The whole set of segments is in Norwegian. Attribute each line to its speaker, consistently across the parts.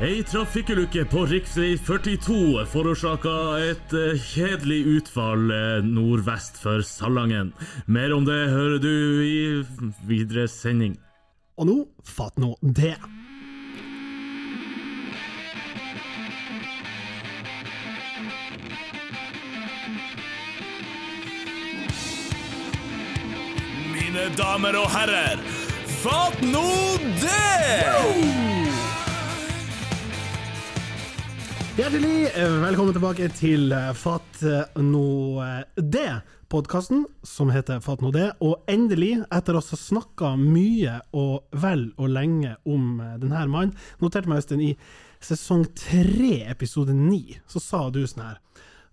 Speaker 1: Ei trafikkulykke på rv. 42 forårsaka et eh, kjedelig utfall eh, nordvest for Salangen. Mer om det hører du i videre sending.
Speaker 2: Og nå, fatt nå det.
Speaker 1: Mine damer og herrer, fatt nå det!
Speaker 2: Hjertelig eh, velkommen tilbake til eh, Fatt eh, nå eh, det, podkasten som heter Fatt nå det. Og endelig, etter å ha snakka mye og vel og lenge om eh, denne mannen, noterte meg Øystein i sesong tre, episode ni, så sa du sånn her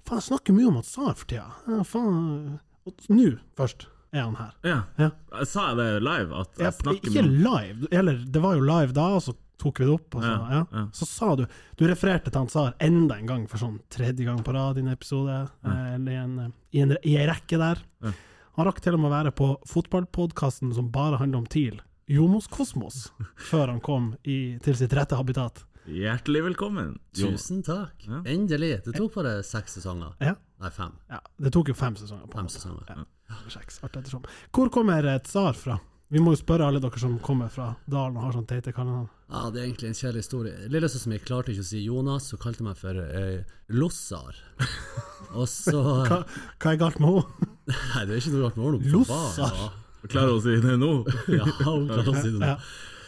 Speaker 2: Faen, jeg snakker mye om at Sar for tida. Ja, faen. Og nå først er han her.
Speaker 1: Ja.
Speaker 2: Ja.
Speaker 1: Jeg sa jeg det live? At
Speaker 2: Ja,
Speaker 1: jeg snakker
Speaker 2: ikke live, eller det var jo live da, og så tok vi det opp. Og så,
Speaker 1: Ja,
Speaker 2: ja,
Speaker 1: ja.
Speaker 2: så sa du Du refererte til han Sar enda en gang, for sånn tredje gang på rad i en episode, eh, eller i en, i en, i en rekke der. Han rakk til og med å være på fotballpodkasten som bare handler om TIL, Jomos Kosmos, før han kom i, til sitt rette habitat.
Speaker 1: Hjertelig velkommen. Jonas.
Speaker 3: Tusen takk. Endelig. Det tok bare seks sesonger.
Speaker 2: Ja.
Speaker 3: Nei, fem.
Speaker 2: ja. Det tok jo fem sesonger. på en
Speaker 3: Fem
Speaker 2: måte.
Speaker 3: sesonger.
Speaker 2: Ja. Seks, alt ettersom. Hvor kommer eh, Tsar fra? Vi må jo spørre alle dere som kommer fra dalen og har sånn teite kallenavn.
Speaker 3: Ja, Det er egentlig en kjedelig historie. Lillesøsteren min klarte ikke å si Jonas, hun kalte meg for eh, Lossar. Og så
Speaker 2: Hva, hva er galt med henne?
Speaker 3: Nei, det er ikke noe rart med ordene.
Speaker 2: Lossar?
Speaker 1: Klarer å si det nå?
Speaker 3: Ja, hun klarte å si det nå.
Speaker 2: Ja.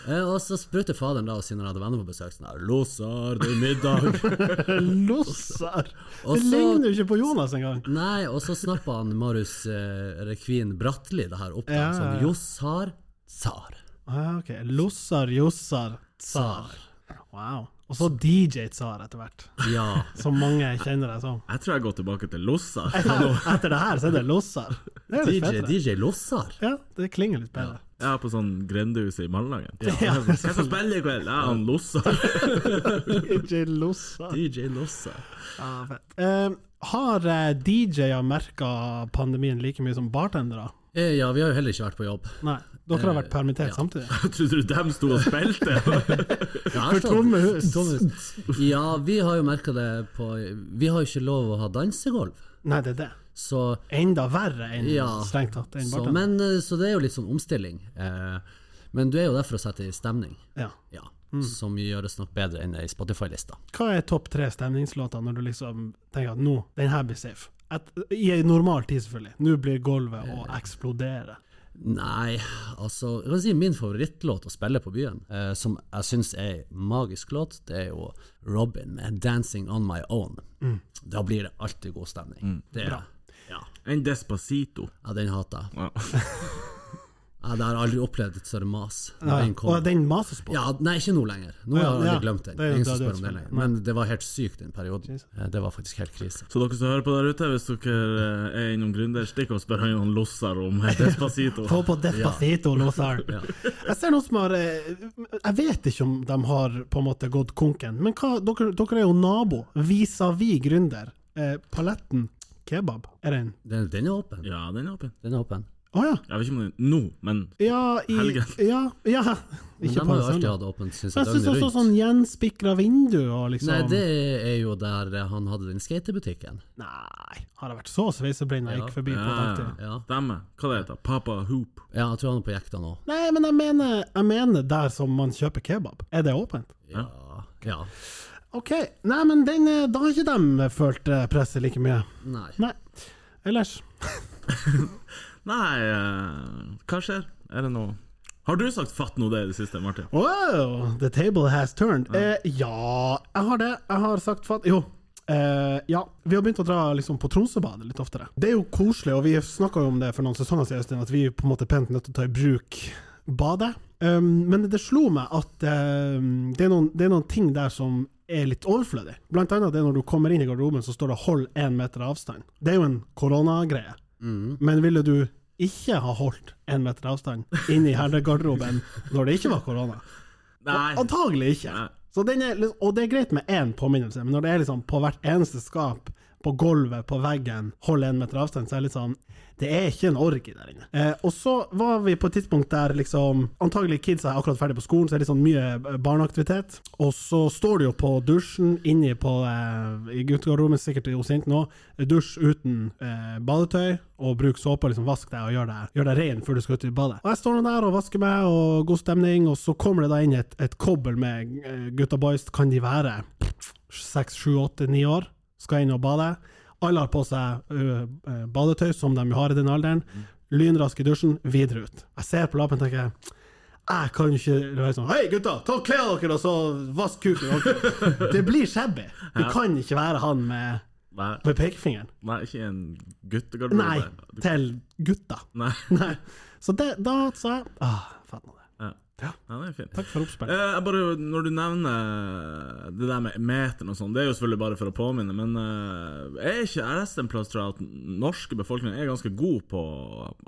Speaker 3: Eh, og så sprutte faderen da og sier når jeg hadde venner på besøk sånn her Lossar, det er middag.
Speaker 2: Lossar!
Speaker 3: Og
Speaker 2: Det
Speaker 3: så-
Speaker 2: ligner jo ikke på Jonas engang.
Speaker 3: Nei, og så snappa han Marius eh, Rekvin Bratteli det her opp da,
Speaker 2: Ja,
Speaker 3: som
Speaker 2: ja, ja.
Speaker 3: Jossar Sar.
Speaker 2: Ah, ok. Lossar, Jossar, Tsar. Wow. Og så DJ Tsar etter hvert,
Speaker 3: Ja.
Speaker 2: som mange kjenner deg som.
Speaker 1: Jeg tror jeg går tilbake til Lossa.
Speaker 2: Etter det her så er det Lossar. Det er litt
Speaker 3: DJ,
Speaker 2: fetere.
Speaker 3: DJ Lossar.
Speaker 2: Ja, det klinger litt bedre.
Speaker 1: Jeg er på sånn grendehus i Malangen.
Speaker 2: Ja,
Speaker 1: Hvem som spiller i kveld? Jeg er han Lossa.
Speaker 2: DJ Lossar.
Speaker 3: DJ Lossar.
Speaker 2: Ja, fett. Eh, har eh, DJ-er merka pandemien like mye som bartendere?
Speaker 3: Eh, Ja, vi har jo heller ikke vært på jobb.
Speaker 2: Nei. Dere har vært
Speaker 3: Eh,
Speaker 2: permittert samtidig?
Speaker 1: Trodde du dem sto og spilte?
Speaker 3: For
Speaker 2: tomme hus.
Speaker 3: Ja, vi har jo merka det på Vi har jo ikke lov å ha dansegulv,
Speaker 2: Nei, det er det.
Speaker 3: så,
Speaker 2: Enda verre enn
Speaker 3: Ja.
Speaker 2: strengt tatt enn
Speaker 3: så
Speaker 2: bartender.
Speaker 3: Men eh, så det er jo litt sånn omstilling. Eh, Men du er jo der for å sette i stemning,
Speaker 2: Ja.
Speaker 3: ja. Som gjøres nok bedre enn ei Spotify-lista.
Speaker 2: Hva er topp tre stemningslåter når du liksom tenker at nå, den her blir safe? Et, I en normal tid, selvfølgelig. Nå blir gulvet å eksplodere.
Speaker 3: Nei, altså Jeg kan si min favorittlåt å spille på byen, eh, som jeg syns er en magisk låt, det er jo Robin med 'Dancing On My Own'. Da blir det alltid god stemning. Det er, Ja.
Speaker 1: En Despacito.
Speaker 3: ja, den hater jeg.
Speaker 1: Ja.
Speaker 3: Ja, det har jeg aldri opplevd et større mas.
Speaker 2: Nei,
Speaker 3: Når den kom.
Speaker 2: og den mases på.
Speaker 3: Ja, nei, ikke nå lenger. Nå
Speaker 2: Ja,
Speaker 3: har jeg
Speaker 2: ja.
Speaker 3: aldri glemt den.
Speaker 2: Det er jo
Speaker 3: Ingen som
Speaker 2: død-
Speaker 3: spør om det
Speaker 2: dødsfall.
Speaker 3: lenger. Men det var helt sykt den perioden. Eh, Det var faktisk helt krise.
Speaker 1: Så dere som hører på der ute, hvis dere eh, er innom Gründer, stikk og spør han om Lossar om Despacito.
Speaker 2: Få på Despacito, Lothar. Jeg ser noen som har eh, Jeg vet ikke om de har på en måte gått konken, men hva, dere, dere er jo nabo. Vis-à-vis gründer. Eh, paletten kebab, er den
Speaker 3: Den, den er åpen.
Speaker 1: Ja, den er åpen.
Speaker 3: Den er åpen.
Speaker 2: Å ja!
Speaker 1: Jeg vet ikke om den er nå, men
Speaker 2: Ja, i,
Speaker 1: Helgen.
Speaker 2: ja, ja.
Speaker 3: Men
Speaker 2: Ikke
Speaker 3: de
Speaker 2: på
Speaker 3: har jo alltid
Speaker 2: søndag.
Speaker 3: hatt åpent, syns
Speaker 2: Jeg
Speaker 3: jeg,
Speaker 2: syns
Speaker 3: døgnet
Speaker 2: også
Speaker 3: rundt.
Speaker 2: sånn gjenspikra vindu og liksom
Speaker 3: Nei, det er jo der eh, han hadde den skatebutikken.
Speaker 2: Nei, har jeg vært så sveiseblind jeg gikk forbi på
Speaker 1: ja,
Speaker 2: dagtid?
Speaker 3: Ja.
Speaker 1: Demme. Hva det heter Papa Hoop.
Speaker 3: Ja, jeg tror han er på jekta nå.
Speaker 2: Nei, men jeg mener, jeg mener der som man kjøper kebab. Er det åpent?
Speaker 3: Ja. ja.
Speaker 2: Ok, nei, men den, eh, da har ikke de følt eh, presset like mye.
Speaker 3: Nei.
Speaker 2: Nei. Ellers
Speaker 1: Nei, eh, hva skjer? Er det noe Har du sagt fatt nå det i det siste, Martin?
Speaker 2: Wow, the table has turned. Eh, ja, jeg har det. Jeg har sagt fatt... Jo. Eh, ja, vi har begynt å dra liksom, på Tromsøbadet litt oftere. Det er jo koselig, og vi snakka jo om det for noen sesonger siden, Øystein, at vi er på en måte pent nødt til å ta i bruk badet. Um, men det slo meg at um, det, er noen, det er noen ting der som er litt overflødig. Blant annet det når du kommer inn i garderoben, så står det 'hold én meter avstand'. Det er jo en koronagreie. Men ville du ikke ha holdt én meter avstand inne i herregarderoben når det ikke var korona?
Speaker 1: Nei.
Speaker 2: Antagelig ikke.
Speaker 1: Nei.
Speaker 2: Så den er, litt- og det er greit med én påminnelse, men når det er liksom på hvert eneste skap på gulvet, på veggen, holder en meter avstand, så er jeg litt sånn Det er ikke en orgi der inne. Eh, og så var vi på et tidspunkt der liksom Antagelig kidsa er akkurat ferdig på skolen, så er det litt sånn mye barneaktivitet. Og så står du jo på dusjen inni på eh, i gutterommet, sikkert hos jentene òg, dusj uten eh, badetøy. Og bruk såpe og liksom vask deg og gjør deg, gjør deg ren før du skal ut i badet. Og jeg står nå der og vasker meg, og god stemning, og så kommer det da inn et, et kobbel med eh, gutta boys, kan de være seks, sju, åtte, ni år, skal inn og bade. Alle har på seg ø, ø, badetøy, som de jo har i den alderen. Lynrask i dusjen, videre ut. Jeg ser på lappen og tenker jeg kan jo ikke være sånn Hei, gutta, ta og kle av dere, og så vask kuken dere. Det blir shabby. Du kan ikke være han med,
Speaker 1: Nei,
Speaker 2: med pekefingeren.
Speaker 1: nei, ikke en
Speaker 2: Nei,
Speaker 1: guttegarderobe. Du-
Speaker 2: til gutta.
Speaker 1: Nei.
Speaker 2: Nei. Så det, da sa jeg ah, faen av det.
Speaker 1: Ja.
Speaker 2: Ja.
Speaker 1: ja, det er fint.
Speaker 2: Takk for oppspillet.
Speaker 1: Eh, jeg bare, når du nevner det der med meteren og sånn, det er jo selvfølgelig bare for å påminne, men eh, er ikke jeg leste en plass, tror jeg, at norske befolkningen er ganske god på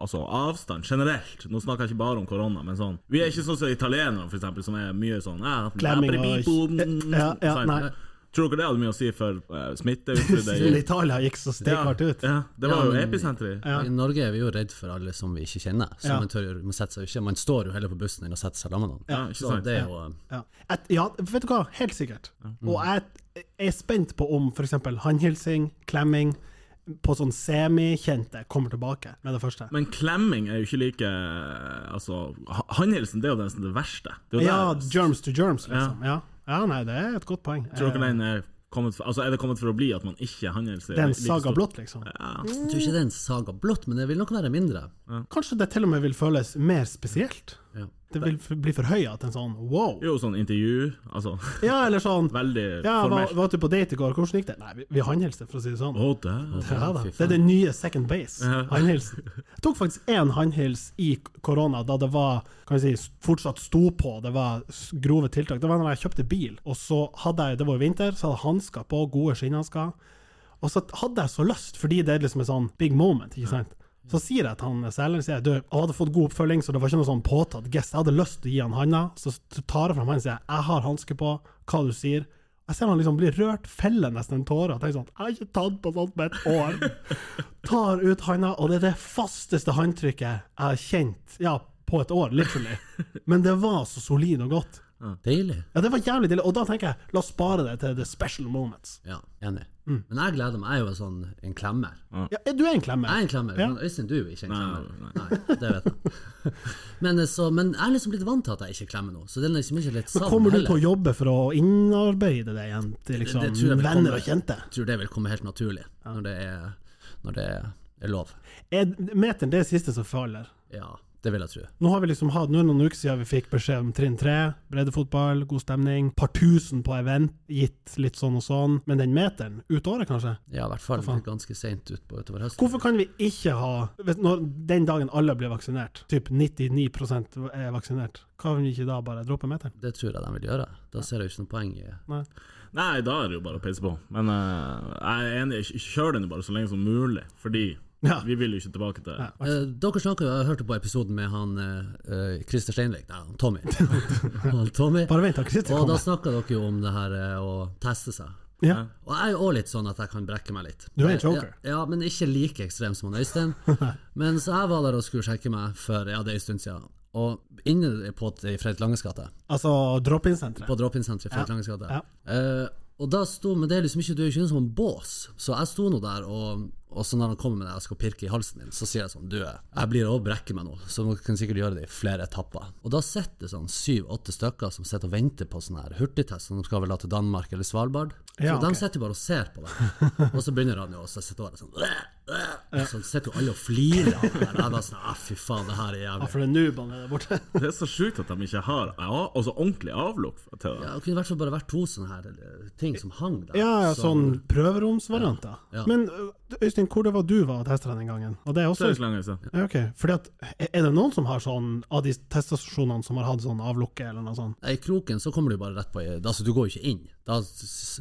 Speaker 1: altså, avstand generelt? Nå snakker jeg ikke bare om korona, men sånn. Vi er ikke sånn som italienere, for eksempel, som er mye sånn eh,
Speaker 2: Klemming og- Eh,
Speaker 1: prebibo,
Speaker 2: Ja, ja,
Speaker 1: sant?
Speaker 2: nei.
Speaker 1: Sånn, eh, Tror dere det hadde mye å si for uh, smitteutbruddet? i-
Speaker 2: Lille Italia gikk så stekhardt ut.
Speaker 1: Ja, det var
Speaker 3: Ja,
Speaker 1: jo
Speaker 3: men-
Speaker 1: episenteret. i-
Speaker 2: Ja.
Speaker 3: I Norge er vi jo redd for alle som vi ikke kjenner. Så
Speaker 2: Ja.
Speaker 3: man, tør, jo- man, setter seg jo ikke, man står jo heller på bussen enn å sette seg sammen med noen.
Speaker 1: Ja, ikke
Speaker 3: så
Speaker 1: sant.
Speaker 3: det er jo eh,
Speaker 2: Ja. Et, ja, vet du hva? Helt sikkert. Og jeg er spent på om f.eks. håndhilsing, klemming, på sånn semikjente kommer tilbake med det første.
Speaker 1: Men klemming er jo ikke like Altså, ha- håndhilsen det er jo den som er det verste. Det er jo
Speaker 2: Ja,
Speaker 1: der-
Speaker 2: germs to germs, liksom. Ja. ja, nei, det er et godt poeng.
Speaker 1: Tror dere
Speaker 2: Eh,
Speaker 1: den er kommet for, altså er det kommet for å bli at man ikke handler seg
Speaker 2: Det er en
Speaker 1: like
Speaker 2: saga
Speaker 1: stort?
Speaker 2: blått, liksom.
Speaker 3: Jeg tror ikke det er en saga blått, men det vil nok være mindre.
Speaker 2: Kanskje det til og med vil føles mer spesielt?
Speaker 3: Ja.
Speaker 2: Det vil f- bli forhøya til en sånn wow.
Speaker 1: Jo, sånn intervju, altså
Speaker 2: Ja, eller sånn
Speaker 1: Veldig
Speaker 2: Ja, var,
Speaker 1: formelt.
Speaker 2: var du på date i går? Hvordan gikk det? Nei, vi, vi håndhilste, for å si det sånn.
Speaker 1: Å, der.
Speaker 2: Ja da.
Speaker 3: Fy
Speaker 2: Det er den nye second base, håndhilsen. Jeg tok faktisk én håndhils i korona, da det var kan jeg si, fortsatt sto på, det var s- grove tiltak. Det var når jeg kjøpte bil, og så hadde jeg, det var jo vinter, så hadde jeg hansker på, gode skinnhansker. Og så hadde jeg så lyst, fordi det er liksom en sånn big moment, ikke sant. Så sier jeg til han selgeren sier jeg, du, jeg hadde fått god oppfølging, så det var ikke noe sånn påtatt gest. Jeg hadde lyst til å gi han handa, så tar jeg fram hånden og sier jeg har hanske på, hva du sier. Jeg ser han liksom blir rørt, feller nesten en tåre og tenker sånn Jeg har ikke tatt på sånt med et år tar ut handa, og det er det fasteste håndtrykket jeg har kjent ja, på et år, literally. Men det var så solid og godt.
Speaker 1: Mm.
Speaker 3: Deilig.
Speaker 2: Ja, Det var jævlig deilig. Og da tenker jeg, la oss spare det til the special moments.
Speaker 3: Ja, enig.
Speaker 2: Mm.
Speaker 3: Men jeg gleder meg. Jeg er jo sånn en klemmer.
Speaker 2: Ja, er du er en klemme?
Speaker 3: Jeg er en klemmer.
Speaker 2: Ja.
Speaker 3: men Øystein, du er jo ikke en
Speaker 1: Mm. Nei,
Speaker 3: klemmer.
Speaker 1: nei,
Speaker 3: Nei, det vet jeg. Men, eh, så, men jeg er liksom blitt vant til at jeg ikke klemmer nå, så det er liksom ikke litt savn
Speaker 2: Kommer du til å
Speaker 3: heller.
Speaker 2: jobbe for å innarbeide deg igjen til liksom,
Speaker 3: Det- det tror jeg vil komme.
Speaker 2: venner og kjente?
Speaker 3: Jeg tror det vil komme helt naturlig når det er, når det er lov.
Speaker 2: Er meteren det siste som faller?
Speaker 3: Ja, det vil jeg tro.
Speaker 2: Nå har vi liksom hatt nå er det noen uker siden vi fikk beskjed om trinn tre, breddefotball, god stemning, par tusen på event, gitt litt sånn og sånn, men den meteren, ut året kanskje?
Speaker 3: Ja, i hvert fall ganske seint utpå utover høsten.
Speaker 2: Hvorfor kan vi ikke ha vet, du, Når den dagen alle blir vaksinert, typ 99 er vaksinert, hva om vi ikke da bare dropper meteren?
Speaker 3: Det tror jeg de vil gjøre. Da ser jeg jo ikke noe poeng i
Speaker 1: Nei, da er det jo bare å peise på. Men eh, jeg er enig, kj- kjør den jo bare så lenge som mulig. Fordi
Speaker 2: Ja.
Speaker 1: vi vil jo ikke tilbake til det.
Speaker 3: Eh, Dere snakker jo, jeg hørte på episoden med han eh, eh, Christer Steinvik, nei, han Tommy. han Tommy.
Speaker 2: Bare vent, da, Christer
Speaker 3: Og
Speaker 2: kommer.
Speaker 3: da snakka dere jo om det her eh, å teste seg.
Speaker 2: Ja.
Speaker 3: Og jeg er jo også litt sånn at jeg kan brekke meg litt.
Speaker 2: Du er en joker.
Speaker 3: Ja, ja, men ikke like ekstrem som han Øystein. men så jeg var der og skulle sjekke meg for ja, det er en stund siden. Og inne på i Fredrik Langes gate,
Speaker 2: Altså drop-in-senteret.
Speaker 3: på drop-in-senteret i Fredrik Langes gate.
Speaker 2: Ja.
Speaker 3: Eh, og da sto, men det er liksom ikke, du er jo ikke en sånn bås, så jeg sto nå der, og, og så når han kommer med det, jeg skal pirke i halsen din, så sier jeg sånn, du, jeg blir å brekke meg nå, så dere kan sikkert gjøre det i flere etapper. Og da sitter det sånn syv-åtte stykker som sitter og venter på sånn her hurtigtest, som de skal vel ha til Danmark eller Svalbard. Så
Speaker 2: Ja, ok.
Speaker 3: de sitter jo bare og ser på det. Og så begynner han jo, og så sitter han sånn, «Åh, åh», og så sitter jo alle og flirer av det der. Jeg var sånn, «Ah, fy faen, det her er
Speaker 2: Ja,
Speaker 3: jævlig.
Speaker 2: for det er noobene der borte.
Speaker 1: Det er så sjukt at de ikke har ja, altså ordentlig avlukk til det.
Speaker 3: Ja, det kunne i hvert fall bare vært to sånne her eller, ting som hang der.
Speaker 2: Ja, ja,
Speaker 3: som-
Speaker 2: sånn prøveromsvarianter.
Speaker 3: Ja.
Speaker 2: Men ø, Øystein, hvor det var du var og testa den gangen? Og det
Speaker 1: Så
Speaker 2: er
Speaker 1: er
Speaker 2: også
Speaker 1: det ikke lenger siden.
Speaker 2: ja, ok. Fordi at, eh, Er det noen som har sånn, av de teststasjonene som har hatt sånn avlukke eller noe sånt?
Speaker 3: Nei, I kroken så kommer du bare rett på Altså, du går jo ikke inn. Da, s-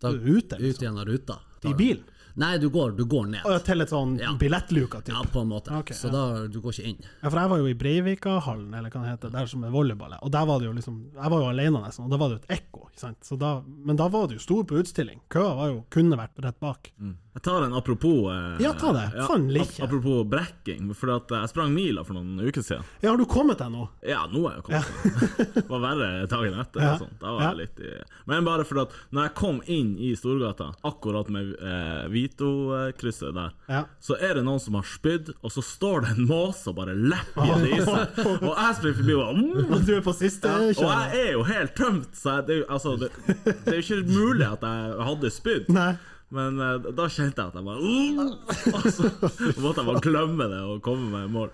Speaker 3: da
Speaker 2: Du er ute, liksom.
Speaker 3: ut igjen av ruta.
Speaker 2: I bilen?
Speaker 3: Nei, du går, du går ned.
Speaker 2: Og Til et sånn billettluka,
Speaker 3: Ja,
Speaker 2: typ?
Speaker 3: på en måte.
Speaker 2: Ok,
Speaker 3: så
Speaker 2: ja.
Speaker 3: da, du går ikke inn.
Speaker 2: Ja, for jeg var jo i Breivikahallen, eller hva det heter, der som er volleyball. Og der var det jo liksom, jeg var jo alene nesten,
Speaker 3: Mm.
Speaker 2: og da var det jo et ekko. ikke sant? Så da, men da var det jo stor på utstilling. Køa var jo, kunne vært rett bak.
Speaker 1: Jeg tar en apropos eh,
Speaker 2: Ja, ta det. Faen, like.
Speaker 1: ap- Apropos brekking, for at jeg sprang mila for noen uker siden.
Speaker 2: Ja, har du kommet deg nå?
Speaker 1: Ja, nå er jeg kommet. det var verre dagen etter.
Speaker 2: Ja.
Speaker 1: og sånt. Da var jeg
Speaker 2: Ja.
Speaker 1: litt i... Men bare fordi at når jeg kom inn i Storgata, akkurat med eh, Vito-krysset der,
Speaker 2: Ja.
Speaker 1: så er det noen som har spydd, og så står det en måse og bare lepper det i seg. Og jeg springer forbi og bare mm.
Speaker 2: Og du er på siste
Speaker 1: Og
Speaker 2: kjøret?
Speaker 1: jeg er jo helt tømt, så jeg, det, er jo- altså, det, det er jo ikke mulig at jeg hadde spydd.
Speaker 2: Nei.
Speaker 1: Men eh, da kjente jeg at jeg bare mm, Og så måtte jeg bare glemme det og komme meg i mål.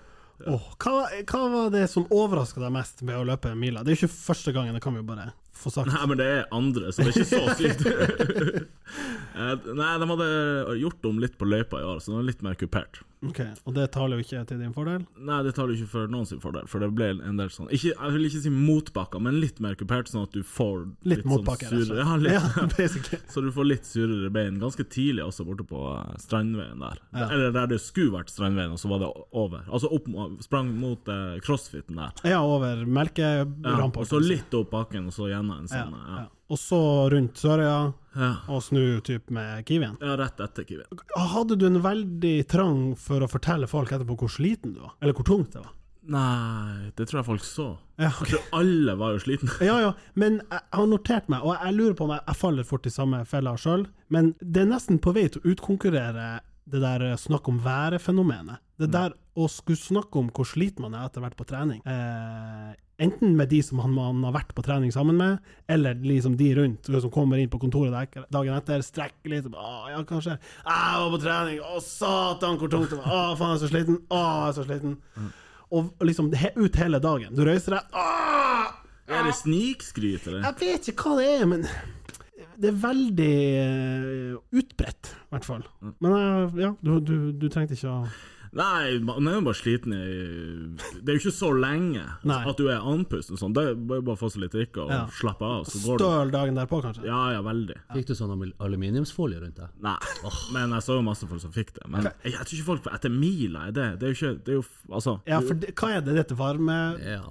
Speaker 2: Åh, hva, hva var det som overraska deg mest med å løpe mila? Det er jo ikke første gangen, det kan vi jo bare få sagt.
Speaker 1: Nei, men det er andre, så det er ikke så sykt. Eh, Nei, de hadde eh, gjort om litt på løypa i år, så den var litt mer kupert.
Speaker 2: Ok, Og det taler jo ikke til din fordel?
Speaker 1: Nei, det tar du ikke for noen sin fordel, for det ble en del sånn ikke, Jeg vil ikke si motbakker, men litt mer kupert, sånn at du får
Speaker 2: Litt, motbakke,
Speaker 1: sånn
Speaker 2: rett og
Speaker 1: surere
Speaker 2: slett.
Speaker 1: ja, litt,
Speaker 2: Ja, basically.
Speaker 1: Så du får litt surere bein, ganske tidlig også, borte på eh, Strandveien der.
Speaker 2: Ja.
Speaker 1: Eller der det skulle vært Strandveien, og så var det o- over. Altså opp, mo- sprang mot eh, crossfiten der.
Speaker 2: Ja, over
Speaker 1: Ja,
Speaker 2: melkerampa.
Speaker 1: og så litt opp bakken, og så gjennom en
Speaker 2: liksom. ja,
Speaker 1: sånn.
Speaker 2: ja.
Speaker 1: Ja,
Speaker 2: Og så rundt Sørøya,
Speaker 1: ja.
Speaker 2: og snu typ med Kiwien.
Speaker 1: ja rett etter Kiwi.
Speaker 2: Hadde du en veldig trang for å fortelle folk etterpå hvor sliten du var? Eller hvor tungt det var?
Speaker 1: Nei, det tror jeg folk så.
Speaker 2: Ja,
Speaker 1: Jeg
Speaker 2: ok.
Speaker 1: tror alle var jo slitne.
Speaker 2: Ja, ja, men jeg har notert meg, og jeg lurer på om jeg, jeg faller fort i samme fella sjøl, men det er nesten på vei til å utkonkurrere det der eh, snakk om værefenomenet. Det der å skulle snakke om hvor sliten man er etter å ha vært på trening, eh, enten med de som han- man har vært på trening sammen med, eller liksom de rundt du vet, som kommer inn på kontoret der- dagen etter, strekker litt og bare, «Åh, ja, kanskje Jeg var på trening, å satan, hvor tungt det var, å faen, jeg er så sliten, å, jeg er så sliten. Og liksom he, ut hele dagen. Du røyser deg, «Åh!»
Speaker 1: Er det snikskryt, eller?
Speaker 2: Jeg vet ikke hva det er, men det er veldig eh, utbredt, i hvert fall. Men eh, ja, du, du, du trengte ikke å
Speaker 1: Nei, man er jo bare sliten i Det er jo ikke så lenge
Speaker 2: Nei.
Speaker 1: at du er andpusten og sånn. Det er bare bare å få seg litt drikke og
Speaker 2: Ja.
Speaker 1: slappe av, så går det.
Speaker 2: støle dagen derpå, kanskje.
Speaker 1: Ja, ja, veldig.
Speaker 3: Fikk du sånn alu- aluminiumsfolie rundt deg?
Speaker 1: Nei, men jeg så jo masse folk som fikk det. Men jeg, jeg tror ikke folk etter mila er det. Det er jo ikke Det er jo f- Altså
Speaker 2: Ja, for det, hva er det? Det heter varme
Speaker 3: Ja,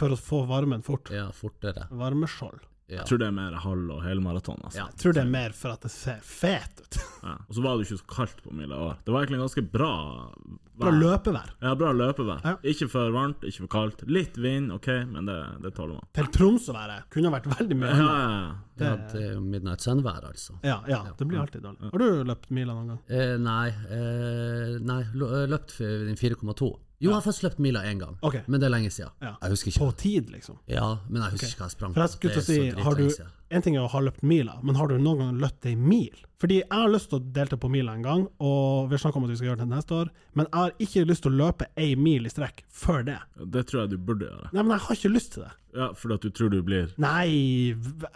Speaker 2: for å få varmen fort.
Speaker 3: ja fortere.
Speaker 2: Varmeskjold.
Speaker 3: Ja.
Speaker 1: Jeg tror det er mer halv og helmaraton. Altså.
Speaker 3: Ja.
Speaker 2: Jeg tror det er mer for at det ser fet ut.
Speaker 1: Ja. Og så var det jo ikke så kaldt på mila i år. Det var egentlig ganske bra
Speaker 2: Bra løpevær.
Speaker 1: Ja, bra løpevær.
Speaker 2: Ja.
Speaker 1: Ikke for varmt, ikke for kaldt. Litt vind, OK, men det, det tåler man.
Speaker 2: Til Tromsøværet kunne vært veldig
Speaker 1: Ja,
Speaker 2: mye annet.
Speaker 1: ja, ja.
Speaker 3: Ja, det er jo Midnight Sun-vær, altså.
Speaker 2: Ja, ja, det blir alltid dårlig. Har du løpt mila noen gang?
Speaker 3: Eh, nei, eh, nei lø- eh, løpt f- den 4,2. Jo, jeg har faktisk løpt mila én gang,
Speaker 2: Ok.
Speaker 3: men det er lenge siden.
Speaker 2: Ja.
Speaker 3: Jeg husker
Speaker 2: På
Speaker 3: ikke.
Speaker 2: tid, liksom.
Speaker 3: Ja, men jeg husker ikke hva jeg sprang
Speaker 2: For jeg
Speaker 3: på.
Speaker 2: skulle
Speaker 3: Det
Speaker 2: til
Speaker 3: er
Speaker 2: å si,
Speaker 3: så
Speaker 2: har du,
Speaker 3: dritlenge siden.
Speaker 2: en ting er å ha løpt mila, men har du noen gang løpt ei mil? Fordi jeg har lyst til å delta på mila en gang, og vi har snakket om at vi skal gjøre det neste år, men jeg har ikke lyst til å løpe ei mil i strekk før det.
Speaker 1: Det tror jeg du burde gjøre.
Speaker 2: Nei, men jeg har ikke lyst til det.
Speaker 1: Ja, Fordi at du tror du blir
Speaker 2: Nei v-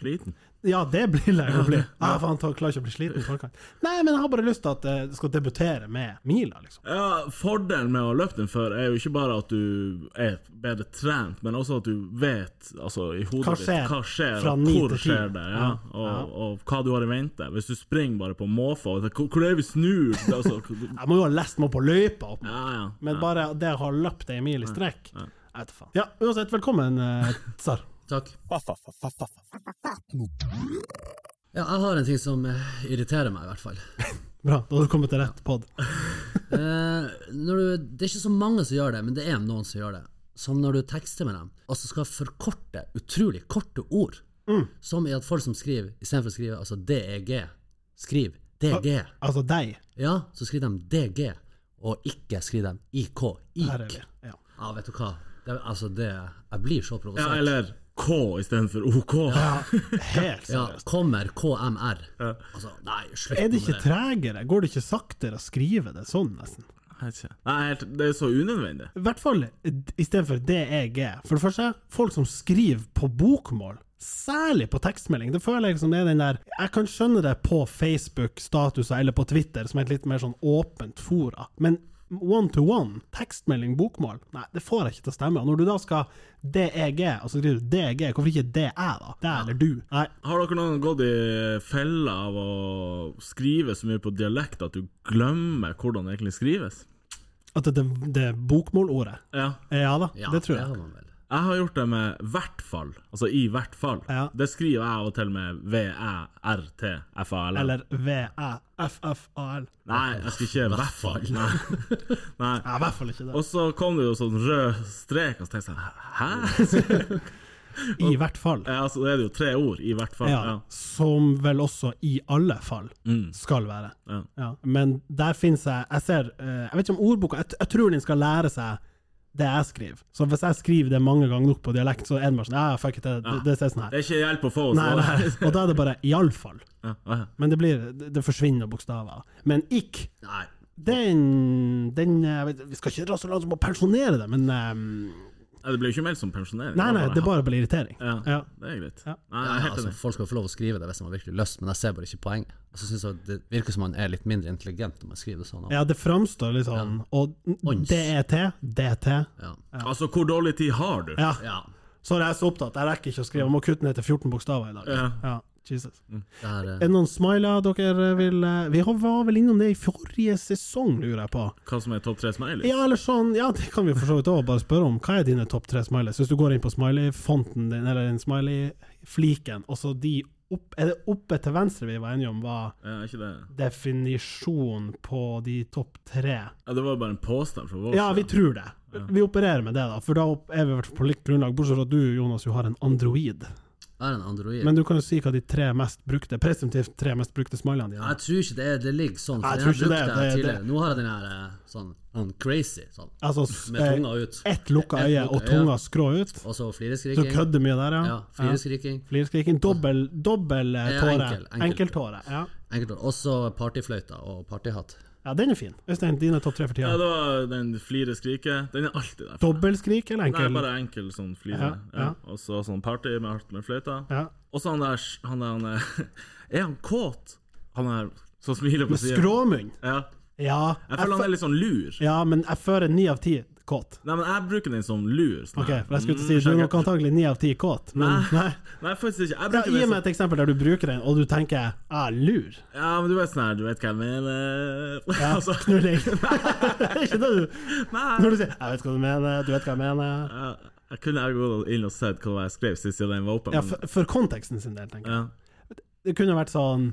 Speaker 1: sliten.
Speaker 2: Ja, det blir jeg jo bli. Ah, faen, jeg klarer ikke å bli sliten i forkant. Nei, men jeg har bare lyst til at eh, det skal debutere med mila, liksom.
Speaker 1: Ja, Fordelen med å løpe den før er jo ikke bare at du er bedre trent, men også at du vet altså, i hodet
Speaker 2: Hva skjer
Speaker 1: ditt hva skjer,
Speaker 2: fra
Speaker 1: og
Speaker 2: ni
Speaker 1: hvor
Speaker 2: til ti?
Speaker 1: skjer det, ja,
Speaker 2: Ja,
Speaker 1: og,
Speaker 2: ja.
Speaker 1: og hva du har i vente. Hvis du springer bare på måfå og tenker, Hvor hvor er vi snur? Det er Altså,
Speaker 2: Jeg må jo ha lest meg opp på løypa, opp.
Speaker 1: ja, ja.
Speaker 2: men bare det å ha løpt ei mil i strekk, jeg vet da faen. Ja, uansett, velkommen, eh, Tsar.
Speaker 3: Takk. Ja, jeg har en ting som eh, irriterer meg, i hvert fall.
Speaker 2: Bra, da har du kommet til rett pod.
Speaker 3: Eh, når du, det er ikke så mange som gjør det, men det er noen som gjør det. Som når du tekster med dem, og så skal forkorte utrolig korte ord.
Speaker 1: Mm.
Speaker 3: Som i at folk som skriver, istedenfor å skrive altså DEG, skriv DG.
Speaker 2: Altså deg.
Speaker 3: Ja, så skriver de DG, og ikke skriver de IK.
Speaker 2: Her er
Speaker 3: IK.
Speaker 2: vi. Ja.
Speaker 3: Ja, vet du hva. Det, altså, det Jeg blir så
Speaker 1: ja,
Speaker 3: provosert.
Speaker 1: eller K istedenfor OK.
Speaker 2: Ja, helt
Speaker 3: Ja,
Speaker 2: seriøst.
Speaker 3: kommer KMR. Altså, nei, slutt
Speaker 2: Er det
Speaker 3: nå
Speaker 2: ikke tregere? Går det ikke saktere å skrive det sånn, nesten?
Speaker 1: Jeg vet ikke. Nei, helt, det er så unødvendig.
Speaker 2: I hvert fall istedenfor DEG. E For det første, folk som skriver på bokmål, særlig på tekstmelding, det føler jeg liksom det er den der Jeg kan skjønne det på Facebook-statuser eller på Twitter, som er et litt mer sånn åpent fora, men one to one, tekstmelding, bokmål, nei, det får jeg ikke til å stemme. Og når du da skal DEG, og så skriver du DG, hvorfor ikke DE, da? Det eller du? Nei,
Speaker 1: Har dere noen gått i fella av å skrive så mye på dialekt at du glemmer hvordan det egentlig skrives?
Speaker 2: at det, det, det bokmålordet
Speaker 1: Ja.
Speaker 2: Ja da,
Speaker 3: Ja,
Speaker 2: det tror jeg.
Speaker 3: har man vel.
Speaker 1: Jeg har gjort det med hvert fall, altså i hvert fall.
Speaker 2: Ja.
Speaker 1: Det skriver jeg av og til med V-æ-r-t-f-a-l.
Speaker 2: Eller V-æ-f-f-a-l.
Speaker 1: Nei, jeg skal ikke hvert fall. Nei. Nei.
Speaker 2: Ja, I hvert fall ikke det.
Speaker 1: Og så kom det jo sånn rød strek, og så tenkte jeg hæ?
Speaker 2: I hvert fall.
Speaker 1: Ja, altså, det er det jo tre ord, i hvert fall. Ja. Mm.
Speaker 2: Ja, som vel også i alle fall skal være.
Speaker 1: Ja.
Speaker 2: Men der finnes jeg Jeg ser eh, Jeg vet ikke om ordboka jeg, t- jeg tror den skal lære seg det jeg skriver. Så hvis jeg skriver det mange ganger nok på dialekt, så er den bare sånn Ja, fuck it, det, det, det ser sånn her.
Speaker 1: Det er sånn ikke hjelp å få. så-
Speaker 2: Nei, nei. Og da er det bare iallfall.
Speaker 1: Ja, ja.
Speaker 2: Men det blir Det, det forsvinner bokstaver. Men ikk,
Speaker 1: Nei.
Speaker 2: den, den eh, vet- Vi skal ikke dra så langt som å pensjonere det, men eh,
Speaker 1: Nei, Det blir jo ikke meldt som pensjonering.
Speaker 2: Nei, nei, det er
Speaker 1: ha-
Speaker 2: bare blir irritering.
Speaker 1: ja.
Speaker 2: Ja.
Speaker 1: Det er greit.
Speaker 2: Ja.
Speaker 1: Nei, jeg er
Speaker 3: Ja,
Speaker 1: helt
Speaker 3: altså,
Speaker 1: enig.
Speaker 3: folk skal få lov å skrive det hvis de har virkelig lyst, men jeg ser bare ikke poenget. Og så synes jeg Det virker som man er litt mindre intelligent når man skriver det sånn.
Speaker 2: ja, det framstår litt sånn. Og E,
Speaker 3: Ons.
Speaker 2: DET, DT
Speaker 3: Ja.
Speaker 1: Altså, hvor dårlig tid har du?
Speaker 2: Ja.
Speaker 3: Ja.
Speaker 2: Så er jeg så opptatt, jeg rekker ikke å skrive. Jeg må kutte ned til 14 bokstaver i dag.
Speaker 1: Ja.
Speaker 2: Jesus.
Speaker 3: Det er, eh,
Speaker 2: Er det noen smiler dere vil eh, Vi har- var vel innom det i forrige sesong, lurer jeg på.
Speaker 1: Hva som er topp tre smileys?
Speaker 2: Ja, eller sånn, ja, det kan vi for så vidt òg bare spørre om. Hva er dine topp tre smileys? Hvis du går inn på smiley-fonten din, eller den smiley-fliken, og så de opp, Er det oppe til venstre vi var enige om var
Speaker 1: Ja, er ikke det?
Speaker 2: definisjonen på de topp tre?
Speaker 1: Ja, det var bare en påstand fra vår
Speaker 2: Ja, vi tror det. Vi opererer med det, da, for da er vi i hvert fall på likt grunnlag. Bortsett fra at du, Jonas, jo har en android.
Speaker 3: det er en android.
Speaker 2: Men du kan jo si hva de tre mest brukte, presumptivt tre mest brukte smilene dine er.
Speaker 3: jeg tror ikke det, er, det ligger sånn.
Speaker 2: Nei,
Speaker 3: For
Speaker 2: jeg tror ikke
Speaker 3: den her
Speaker 2: det,
Speaker 3: brukte jeg
Speaker 2: det-
Speaker 3: tidligere. Nå har jeg den her eh, sånn, sånn crazy, sånn.
Speaker 2: Altså s-
Speaker 3: Med
Speaker 2: eh,
Speaker 3: tunga ut.
Speaker 2: ett lukka
Speaker 3: Ett
Speaker 2: øye
Speaker 3: lukka
Speaker 2: og
Speaker 3: øye.
Speaker 2: tunga skrå ut.
Speaker 3: Og så
Speaker 2: Du
Speaker 3: flireskrikking.
Speaker 2: kødder mye der, ja.
Speaker 3: Ja, Flireskrikking.
Speaker 2: Flirskriking. Dobbel, dobbel eh,
Speaker 3: Ja,
Speaker 2: tåre.
Speaker 3: enkel, enkel.
Speaker 2: Enkeltåre. Ja.
Speaker 3: Enkelt ord. Også partyfløyta og partyhatt.
Speaker 2: ja, den er fin. Øystein, dine topp tre for
Speaker 1: Ja,
Speaker 2: tida.
Speaker 1: det var den flire skrike. Den er alltid der.
Speaker 2: Dobbelskrik eller
Speaker 1: Nei,
Speaker 2: enkel?
Speaker 1: bare enkel sånn flire.
Speaker 2: Ja,
Speaker 1: Ja,
Speaker 2: ja.
Speaker 1: Og så sånn party med hardt med fløyta.
Speaker 2: Ja.
Speaker 1: Og så han der han der, han er, er han kåt? Han der som smiler på
Speaker 2: Med
Speaker 1: siden
Speaker 2: skråmunn.
Speaker 1: Ja.
Speaker 2: Ja,
Speaker 1: Jeg føler han er litt sånn lur.
Speaker 2: ja, men jeg fører ni av ti kåt.
Speaker 1: Nei, men jeg bruker den som lur. Sånn
Speaker 2: Ok,
Speaker 1: her.
Speaker 2: for jeg skulle til å si
Speaker 1: Mm,
Speaker 2: Du er
Speaker 1: skjegget.
Speaker 2: nok antagelig ni av ti kåt, men nei.
Speaker 1: Nei, faktisk ikke. Jeg
Speaker 2: Ja,
Speaker 1: bruker
Speaker 2: gi
Speaker 1: den
Speaker 2: meg
Speaker 1: som
Speaker 2: et eksempel der du bruker den, og du tenker ah, lur.
Speaker 1: Ja, men du vet sånn her, du vet hva jeg mener
Speaker 2: Ja,
Speaker 1: altså,
Speaker 2: knulling. Ikke det du
Speaker 1: Nei.
Speaker 2: Når du sier 'jeg vet hva du mener', 'du vet hva jeg mener'
Speaker 1: Jeg, jeg kunne jeg gått inn og sett hva det var jeg skrev sist siden den var oppe.
Speaker 2: Ja,
Speaker 1: men-
Speaker 2: for, for konteksten sin del, tenker jeg.
Speaker 1: ja.
Speaker 2: Det kunne vært sånn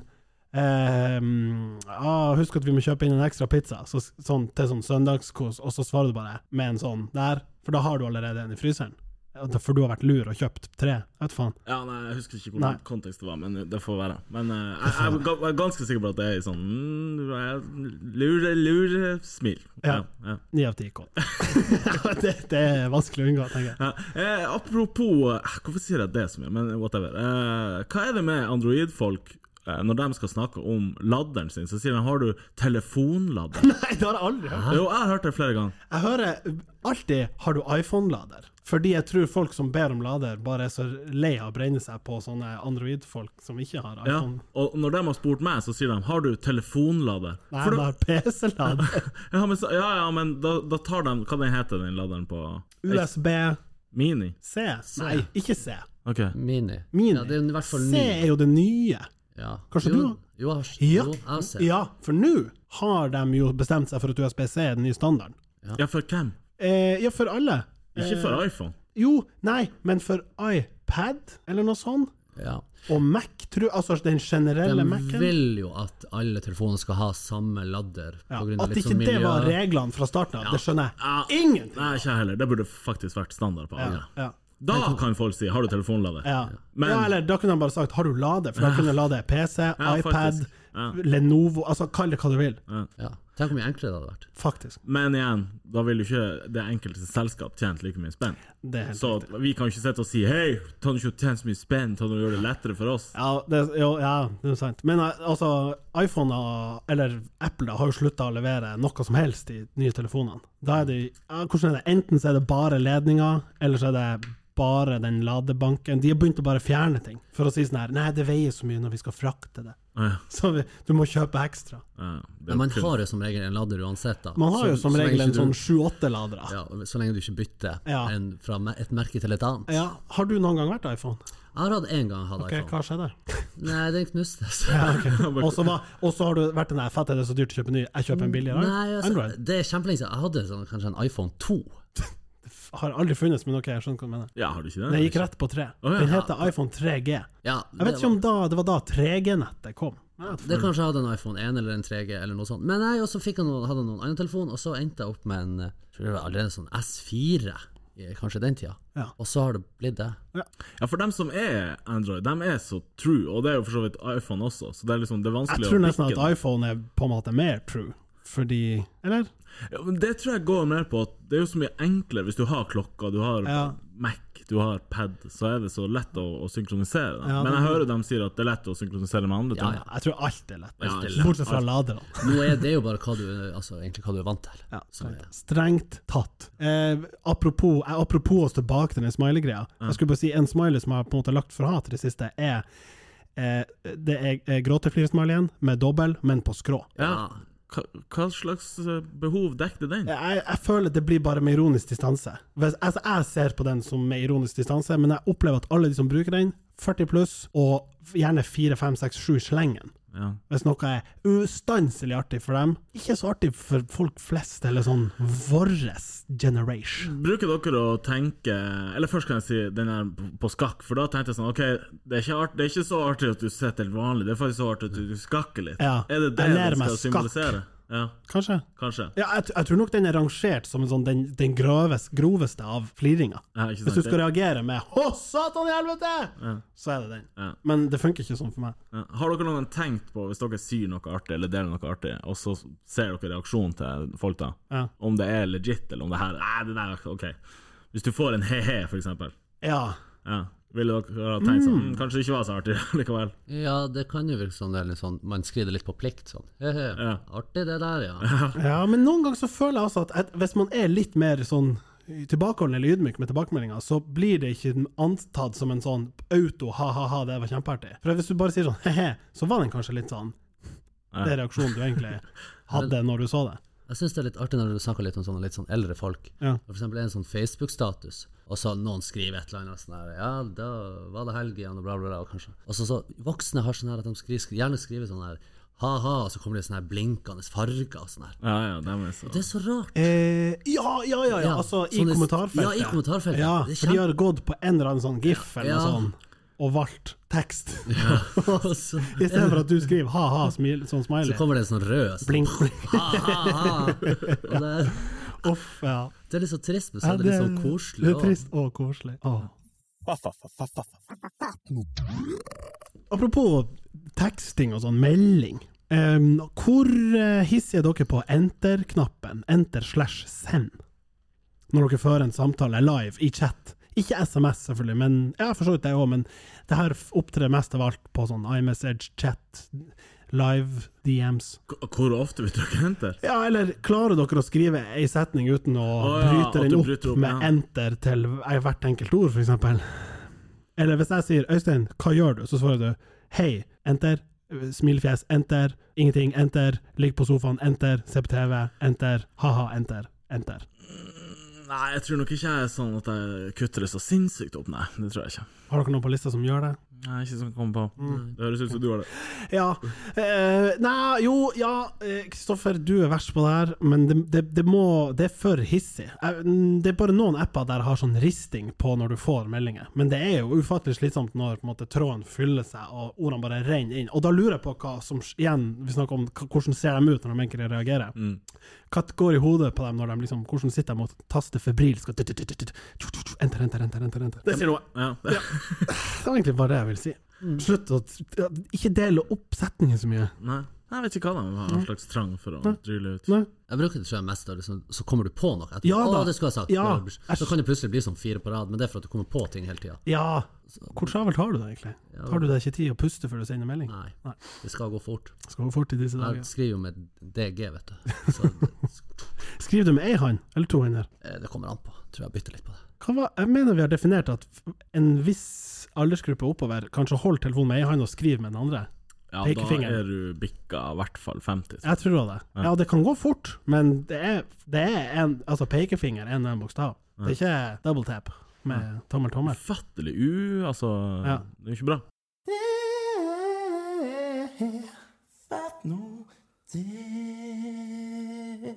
Speaker 2: ehm, ah, 'Husk at vi må kjøpe inn en ekstra pizza' så, sånn, til sånn søndagskos, og så svarer du bare med en sånn der, for da har du allerede en i fryseren. Ja, da- For du har vært lur og kjøpt tre. Jeg vet faen.
Speaker 1: ja, nei, jeg husker ikke
Speaker 2: Nei.
Speaker 1: hvordan kontekst det var, men det får være. Men eh, jeg, jeg, er ga- jeg er ganske sikker på at det er i sånn mm, jeg- lure, lure smil.
Speaker 2: Ja.
Speaker 1: ja.
Speaker 2: Ni av ti kåt. det, det er vanskelig å unngå, tenker jeg.
Speaker 1: Ja. Eh, apropos eh, Hvorfor sier jeg det så mye? Men whatever. Eh, hva er det med androidfolk eh, når de skal snakke om ladderen sin, så sier de 'har du telefonlader'?
Speaker 2: Nei, det har jeg aldri hørt.
Speaker 1: jo, jeg har hørt det flere ganger.
Speaker 2: Jeg hører alltid 'har du iPhone-lader'? Fordi jeg tror folk som ber om lader, bare er så lei av å brenne seg på sånne Android-folk som ikke har
Speaker 1: Ja.
Speaker 2: iPhone.
Speaker 1: Og når de har spurt meg, så sier de 'har du telefonlader'?
Speaker 2: Nei,
Speaker 1: For
Speaker 2: de
Speaker 1: da,
Speaker 2: har PC-lader.
Speaker 1: ja, men, så, ja, ja, men da, da tar de Hva den heter den laderen på
Speaker 2: USB-C.
Speaker 1: Mini?
Speaker 2: Nei, ikke C.
Speaker 1: Ok.
Speaker 3: Mini.
Speaker 2: Mini.
Speaker 3: Ja, det er i hvert fall
Speaker 2: C
Speaker 3: ny.
Speaker 2: er jo det nye.
Speaker 3: Ja.
Speaker 2: Kanskje
Speaker 3: jo,
Speaker 2: du-
Speaker 3: Jo, jeg har-
Speaker 2: Ja,
Speaker 3: jo, jeg har sett.
Speaker 2: ja for nå har de jo bestemt seg for at USB-C er den nye standarden.
Speaker 1: Ja, for hvem?
Speaker 2: Eh, ja, for alle.
Speaker 1: Ikke
Speaker 2: Eh.
Speaker 1: for iPhone.
Speaker 2: Jo, nei, men for iPad, eller noe sånt.
Speaker 3: Ja.
Speaker 2: Og Mac, tror Altså den generelle
Speaker 3: De
Speaker 2: Mac-en.
Speaker 3: vil jo at alle telefoner skal ha samme ladder.
Speaker 2: Ja,
Speaker 3: på grunn av
Speaker 2: at
Speaker 3: litt
Speaker 2: ikke
Speaker 3: sånn
Speaker 2: det
Speaker 3: miljø.
Speaker 2: var reglene fra starten av, det skjønner
Speaker 1: Ja.
Speaker 2: jeg ingenting
Speaker 1: Nei, ikke jeg heller. Det burde faktisk vært standard på alle.
Speaker 2: Ja.
Speaker 1: Da kan folk si 'har du telefonlader'?
Speaker 2: Ja.
Speaker 1: Men-
Speaker 2: ja, eller da kunne han bare sagt 'har du lader?' For da kunne han lade PC,
Speaker 1: Ja,
Speaker 2: iPad,
Speaker 1: faktisk. Ja.
Speaker 2: Lenovo Altså kall det hva du vil,
Speaker 3: Ja. Tenk hvor mye enklere det hadde vært.
Speaker 2: faktisk.
Speaker 1: Men igjen, da vil jo ikke det enkelte selskap tjent like mye spenn.
Speaker 2: Det er helt
Speaker 1: Så vi kan jo ikke sitte og si hei, ta nå ikke og tjene så mye spenn, ta nå og gjør det lettere for oss.
Speaker 2: Ja, det, jo, ja, det er sant. Men eh, altså, iPhone og, eller Apple da, har jo slutta å levere noe som helst i de nye telefonene. Da er det, ja, hvordan er det? Enten så er det bare ledninger, eller så er det bare den ladebanken. De har begynt å bare fjerne ting, for å si sånn her Nei, det veier så mye når vi skal frakte det.
Speaker 1: Ja,
Speaker 2: Så vi, du må kjøpe ekstra.
Speaker 1: ja, Eh, det er
Speaker 3: Men man
Speaker 1: kun-
Speaker 3: har jo som regel en ladder uansett, da.
Speaker 2: Man har
Speaker 3: Så-
Speaker 2: jo som
Speaker 3: så lenge
Speaker 2: regel en
Speaker 3: ikke du-
Speaker 2: sånn sju-åtte ladere. Ja.
Speaker 3: Ja, Så lenge du ikke bytter
Speaker 2: Ja.
Speaker 3: en, fra me- et merke til et annet.
Speaker 2: Har du noen gang vært iPhone?
Speaker 3: Jeg har hatt én gang hatt
Speaker 2: Ok,
Speaker 3: iPhone.
Speaker 2: Hva skjedde?
Speaker 3: Nei, den knustes.
Speaker 2: Ja, ok. Og så var- og så har du vært den der fett, er det så dyrt å kjøpe ny, jeg kjøper en billigere?
Speaker 3: Mm, Nei, altså,
Speaker 2: Android?
Speaker 3: det er kjempelenge siden. Jeg hadde sånn, kanskje en iPhone 2.
Speaker 2: har aldri funnes, men ok, jeg skjønner hva du mener.
Speaker 1: Ja, har du ikke det?
Speaker 2: Den gikk rett på 3.
Speaker 1: ja.
Speaker 2: Den heter iPhone 3G.
Speaker 3: Ja,
Speaker 2: Jeg vet ikke om da, det var da 3G-nettet kom. Jeg vet
Speaker 3: det kanskje jeg hadde en iPhone 1 eller en 3G eller noe sånt. Men nei, og så fikk jeg noen, hadde jeg noen annen telefon, og så endte jeg opp med en eh, tror jeg det var allerede sånn S4, i kanskje den tida.
Speaker 2: Ja.
Speaker 3: Og så har det blitt det.
Speaker 1: Ja, for dem som er Android, dem er så true, og det er jo for så vidt iPhone også, så det er liksom det er
Speaker 2: Jeg
Speaker 1: vanskelig
Speaker 2: tror
Speaker 1: å
Speaker 2: nesten
Speaker 1: pikke
Speaker 2: at
Speaker 1: det.
Speaker 2: iPhone er på en måte mer true, fordi Eller?
Speaker 1: Ja, men det tror jeg går mer på at det er jo så mye enklere hvis du har klokka, du har
Speaker 2: Ja.
Speaker 1: Mac, du har pad, så er det så lett å, å synkronisere. dem.
Speaker 2: Ja,
Speaker 1: men
Speaker 2: det-
Speaker 1: jeg hører dem sier at det er lett å synkronisere med andre ting.
Speaker 3: ja.
Speaker 2: Jeg tror alt er lett.
Speaker 1: Alt er lett.
Speaker 2: Bortsett fra laderne.
Speaker 3: Nå er det jo bare hva du, altså, egentlig hva du er vant til.
Speaker 2: Ja,
Speaker 3: som
Speaker 2: strengt,
Speaker 3: er-
Speaker 2: strengt tatt. Eh, apropos, eh, apropos oss tilbake til den smiley-greia. Jeg skulle bare si En smiley som jeg på en måte har lagt for hat i det siste, er eh, Det er eh, gråteflir-smileyen med dobbel, men på skrå.
Speaker 1: Ja. Hva, hva slags eh, behov dekte den?
Speaker 2: Jeg, jeg føler det blir bare med ironisk distanse. Hvis, altså, jeg ser på den som med ironisk distanse, men jeg opplever at alle de som bruker den, 40 pluss, og gjerne 4, 5, 6, 7 slengen.
Speaker 1: Ja.
Speaker 2: Hvis noe er ustanselig artig for dem, ikke så artig for folk flest, eller sånn våres generation.
Speaker 1: Bruker dere å tenke Eller først kan jeg si den her på- på skakk, for da tenkte jeg sånn OK, det er ikke, art, det er ikke så artig at du sitter helt vanlig, det er faktisk så artig at du skakker litt.
Speaker 2: Ja.
Speaker 1: Er det det
Speaker 2: Jeg lærer
Speaker 1: den
Speaker 2: meg
Speaker 1: skal
Speaker 2: skakk.
Speaker 1: symbolisere? Ja,
Speaker 2: Kanskje?
Speaker 1: kanskje.
Speaker 2: Ja, jeg, t- jeg tror nok den er rangert som en sånn, den, den groves, groveste av fliringer.
Speaker 1: Ja, ikke
Speaker 2: Hvis
Speaker 1: sant.
Speaker 2: du skal reagere med 'Å, satan i helvete!', så er det den.
Speaker 1: Ja.
Speaker 2: Men det funker ikke sånn for meg.
Speaker 1: Ja. Har dere noen gang tenkt på, hvis dere sier noe artig, eller deler noe artig, og så ser dere reaksjonen til folk da,
Speaker 2: Ja.
Speaker 1: om det er legit, eller om det her Nei, det der, OK. Hvis du får en he-he, for eksempel,
Speaker 2: Ja.
Speaker 1: ja. ville dere ha tenkt sånn «Hm, Kanskje det ikke var så artig likevel.
Speaker 3: Ja, det kan jo virke som det er litt sånn, man skriver det litt på plikt. Sånn. Hehe,
Speaker 1: Ja.
Speaker 3: Artig det der, ja.
Speaker 2: ja, men noen ganger så føler jeg altså at, at hvis man er litt mer sånn tilbakeholden eller ydmyk med tilbakemeldinger, så blir det ikke antatt som en sånn auto 'ha-ha-ha, det var kjempeartig'. For hvis du bare sier sånn 'he-he', så var den kanskje litt sånn
Speaker 1: Ja.
Speaker 2: Det er reaksjonen du egentlig hadde når du så det.
Speaker 3: Jeg syns det er litt artig når du snakker litt om sånne litt sånn eldre folk.
Speaker 2: Ja.
Speaker 3: For eksempel en sånn Facebook-status, og så noen skriver et eller annet sånn her Ja, da var det helg igjen, og bla, bla, bla, og kanskje Og så, så voksne har sånn her at de skriver, skri- gjerne skriver sånn her ha-ha, og så kommer det sånne her blinkende farger og sånn her.
Speaker 1: Ja, ja, dem er så
Speaker 3: Det er så rart.
Speaker 2: Eh, ja, ja, ja, ja.
Speaker 3: Ja,
Speaker 2: Altså, i
Speaker 3: sånne-
Speaker 2: kommentarfeltet.
Speaker 3: ja, i kommentarfeltet.
Speaker 2: Ja,
Speaker 3: Det er
Speaker 2: for de har gått på en eller annen sånn gif eller
Speaker 3: Ja.
Speaker 2: noe sånn, og valgt tekst.
Speaker 3: Og så,
Speaker 2: I stedet for at du skriver ha-ha, smil, sånn
Speaker 3: så
Speaker 2: smiley.
Speaker 3: kommer det en sånn rød sånn,
Speaker 2: Blink, blink.
Speaker 3: ha-ha-ha. Og det, er-
Speaker 2: Uff, ja.
Speaker 3: det er litt så trist, men så er det litt sånn koselig.
Speaker 2: Det
Speaker 3: også.
Speaker 2: er trist og koselig. Åh. Apropos teksting og sånn, melding. Em, hvor eh, hissige er dere på enter-knappen? Enter slash send. Når dere fører en samtale live i chat. Ikke SMS, selvfølgelig, men ja, for så vidt det òg, men det her f- opptrer mest av alt på sånn iMessage, chat, live, DMs.
Speaker 1: K- Hvor ofte vil dere hente?
Speaker 2: Ja, eller klarer dere å skrive ei setning uten
Speaker 1: Å
Speaker 2: å
Speaker 1: ja, at
Speaker 2: bryte den
Speaker 1: du
Speaker 2: opp,
Speaker 1: bryter opp,
Speaker 2: med
Speaker 1: ja.
Speaker 2: enter til hvert enkelt ord, f.eks.? Eller hvis jeg sier 'Øystein, hva gjør du?' så svarer du 'Hei, enter'. Smilefjes, enter. Ingenting, enter. Ligg på sofaen, enter. Se på TV, enter. Ha-ha, enter. Enter.
Speaker 1: Nei, jeg tror nok ikke jeg er sånn at jeg kutter det så sinnssykt opp, nei. Det tror jeg ikke. Mm.
Speaker 2: Har dere noen på lista som gjør det?
Speaker 1: Nei, ikke som jeg kommer på. Det høres ut som du har det.
Speaker 2: Ja. eh, nei, jo, ja. eh, Kristoffer, du er verst på det her, men det, det, det må Det er for hissig. Jeg- mm, Det er bare noen apper der har sånn risting på når du får meldinger, men det er jo ufattelig slitsomt når på en måte, tråden fyller seg og ordene bare renner inn. Og da lurer jeg på hva som Igjen, vi snakker om hva- hvordan ser de ut når de egentlig reagerer.
Speaker 1: Mm.
Speaker 2: Hva går i hodet på dem når de liksom Hvordan sitter de og taster febrilsk og tut-tut-tut-tut, tut-tut-tut, Enter, enter, enter, enter. enter. Det sier noe.
Speaker 1: Ja.
Speaker 2: Det var egentlig bare det jeg ville si. Slutt å Ikke dele opp setningen så mye.
Speaker 1: Nei. Jeg vet ikke hva de har en slags trang for å drille ut.
Speaker 2: Nei.
Speaker 3: Jeg bruker det tror jeg mest da, liksom, så kommer du på noe. Etterpå.
Speaker 2: Ja da.
Speaker 3: Å, det skulle jeg sagt.
Speaker 2: Ja.
Speaker 3: Så kan det plutselig bli sånn fire på rad, men det er for at du kommer på ting hele tida.
Speaker 2: Ja. Hvor travelt har du det egentlig? Tar du deg ikke tid å puste før du sender melding?
Speaker 3: Nei.
Speaker 2: Nei.
Speaker 3: Det skal gå fort.
Speaker 2: Skal gå fort i disse
Speaker 3: Jeg
Speaker 2: dager.
Speaker 3: skriver jo med DG, vet du. Så
Speaker 2: Skriver du med ei hånd eller to hender?
Speaker 3: eh, det kommer an på. Tror jeg bytter litt på det.
Speaker 2: Hva var, jeg mener vi har definert at f- en viss aldersgruppe oppover kanskje holder telefonen med ei hånd og skriver med den andre.
Speaker 1: Ja,
Speaker 2: Pekefingeren.
Speaker 1: da er du bikka i hvert fall 50. tror jeg.
Speaker 2: Jeg tror det. Ja, det kan gå fort, men det er, det er en Altså pekefinger er en og en bokstav. Det er ikke double tap med tommel-tommel.
Speaker 1: Ufattelig u... Altså,
Speaker 2: Ja.
Speaker 1: det er jo ikke bra.
Speaker 4: Det er fatt nå, det er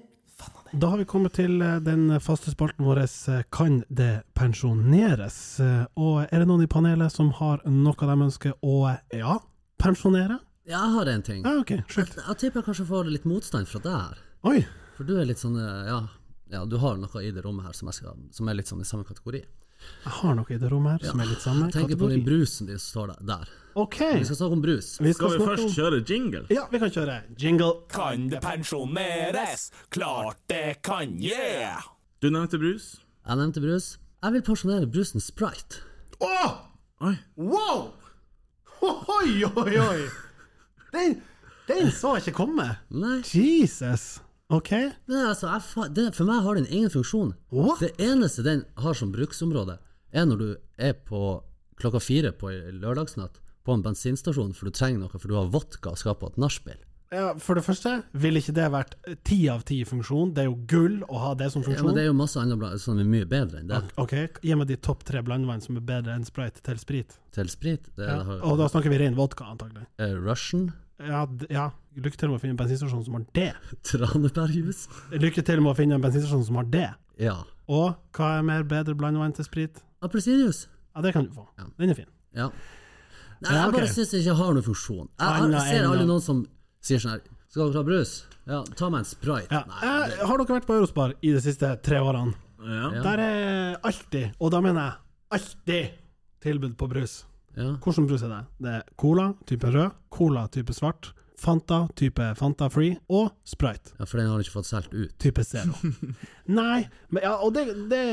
Speaker 2: Da har vi kommet til eh, den faste spalten vår eh, Kan det pensjoneres? Eh, Og er det noen i panelet som har noe de ønsker å eh, ja, pensjonere?
Speaker 3: Jeg har en ting.
Speaker 2: Ja, ok, sjukt.
Speaker 3: Jeg tipper jeg kanskje får litt motstand fra deg her.
Speaker 2: Oi!
Speaker 3: For du er litt sånn eh, Ja, ja du har noe i det rommet her som, jeg skal, som er litt sånn i samme kategori.
Speaker 2: Jeg har noe i det rommet her som er litt samme
Speaker 3: Tenk på den
Speaker 2: kategori.
Speaker 3: brusen din som står der- der.
Speaker 2: Ok,
Speaker 3: Vi skal snakke om brus.
Speaker 2: vi
Speaker 1: Skal
Speaker 2: skal
Speaker 1: vi
Speaker 2: snakke
Speaker 1: først
Speaker 2: om
Speaker 1: kjøre jingle?
Speaker 2: Ja, vi kan kjøre jingle.
Speaker 4: Kan det pensjoneres? Klart det kan, yeah!
Speaker 1: Du nevnte brus.
Speaker 3: Jeg nevnte brus. Jeg vil pensjonere brusen Sprite.
Speaker 2: Åh!
Speaker 1: Oi.
Speaker 2: Wow! Oi, oi, oi! Den, den så jeg ikke komme.
Speaker 3: Nei,
Speaker 2: Jesus. Ok.
Speaker 3: men altså, jeg, fa- det, for meg har den ingen funksjon.
Speaker 2: What?
Speaker 3: Det eneste den har som bruksområde, er når du er på klokka fire på en lørdagsnatt på en bensinstasjon for du trenger noe for du har vodka og skal på et nachspiel.
Speaker 2: Ja, for det første, ville ikke det vært ti av ti funksjon? Det er jo gull å ha det som
Speaker 3: Ja, men
Speaker 2: funksjon.
Speaker 3: det er jo masse andre bla- som er mye bedre enn det.
Speaker 2: Ok, Gi meg de topp tre blandvann som er bedre enn sprite til sprit.
Speaker 3: Til sprit. Det
Speaker 2: Ja.
Speaker 3: har
Speaker 2: Og da snakker vi ren vodka, antagelig.
Speaker 3: eh, Russian,
Speaker 2: Ja, d ja. Lykke til med å finne en bensinstasjon som har det.
Speaker 3: tranebærjus.
Speaker 2: Lykke til med å finne en bensinstasjon som har det.
Speaker 3: Ja.
Speaker 2: Og hva er mer bedre blandevann til sprit?
Speaker 3: Appelsinjuice.
Speaker 2: Ja, det kan du få. Den er fin.
Speaker 3: Ja. Nei,
Speaker 2: Ja,
Speaker 3: jeg
Speaker 2: ok.
Speaker 3: bare syns det ikke har noen funksjon. Jeg,
Speaker 2: Anna,
Speaker 3: jeg ser
Speaker 2: Anna.
Speaker 3: alle noen som sier sånn her Skal dere ha brus? Ja, ta meg en sprite.
Speaker 2: Ja.
Speaker 3: Nei,
Speaker 2: Eh, har dere vært på Eurospar i de siste tre årene?
Speaker 1: Ja.
Speaker 2: Der er alltid, og da mener jeg alltid, tilbud på brus.
Speaker 3: ja.
Speaker 2: Hvordan brus er det? Det er cola type rød, cola type svart, Fanta type Fanta Free og Sprite
Speaker 3: ja, for den har ikke fått solgt ut.
Speaker 2: type Zero. Nei, men, ja, og det, det,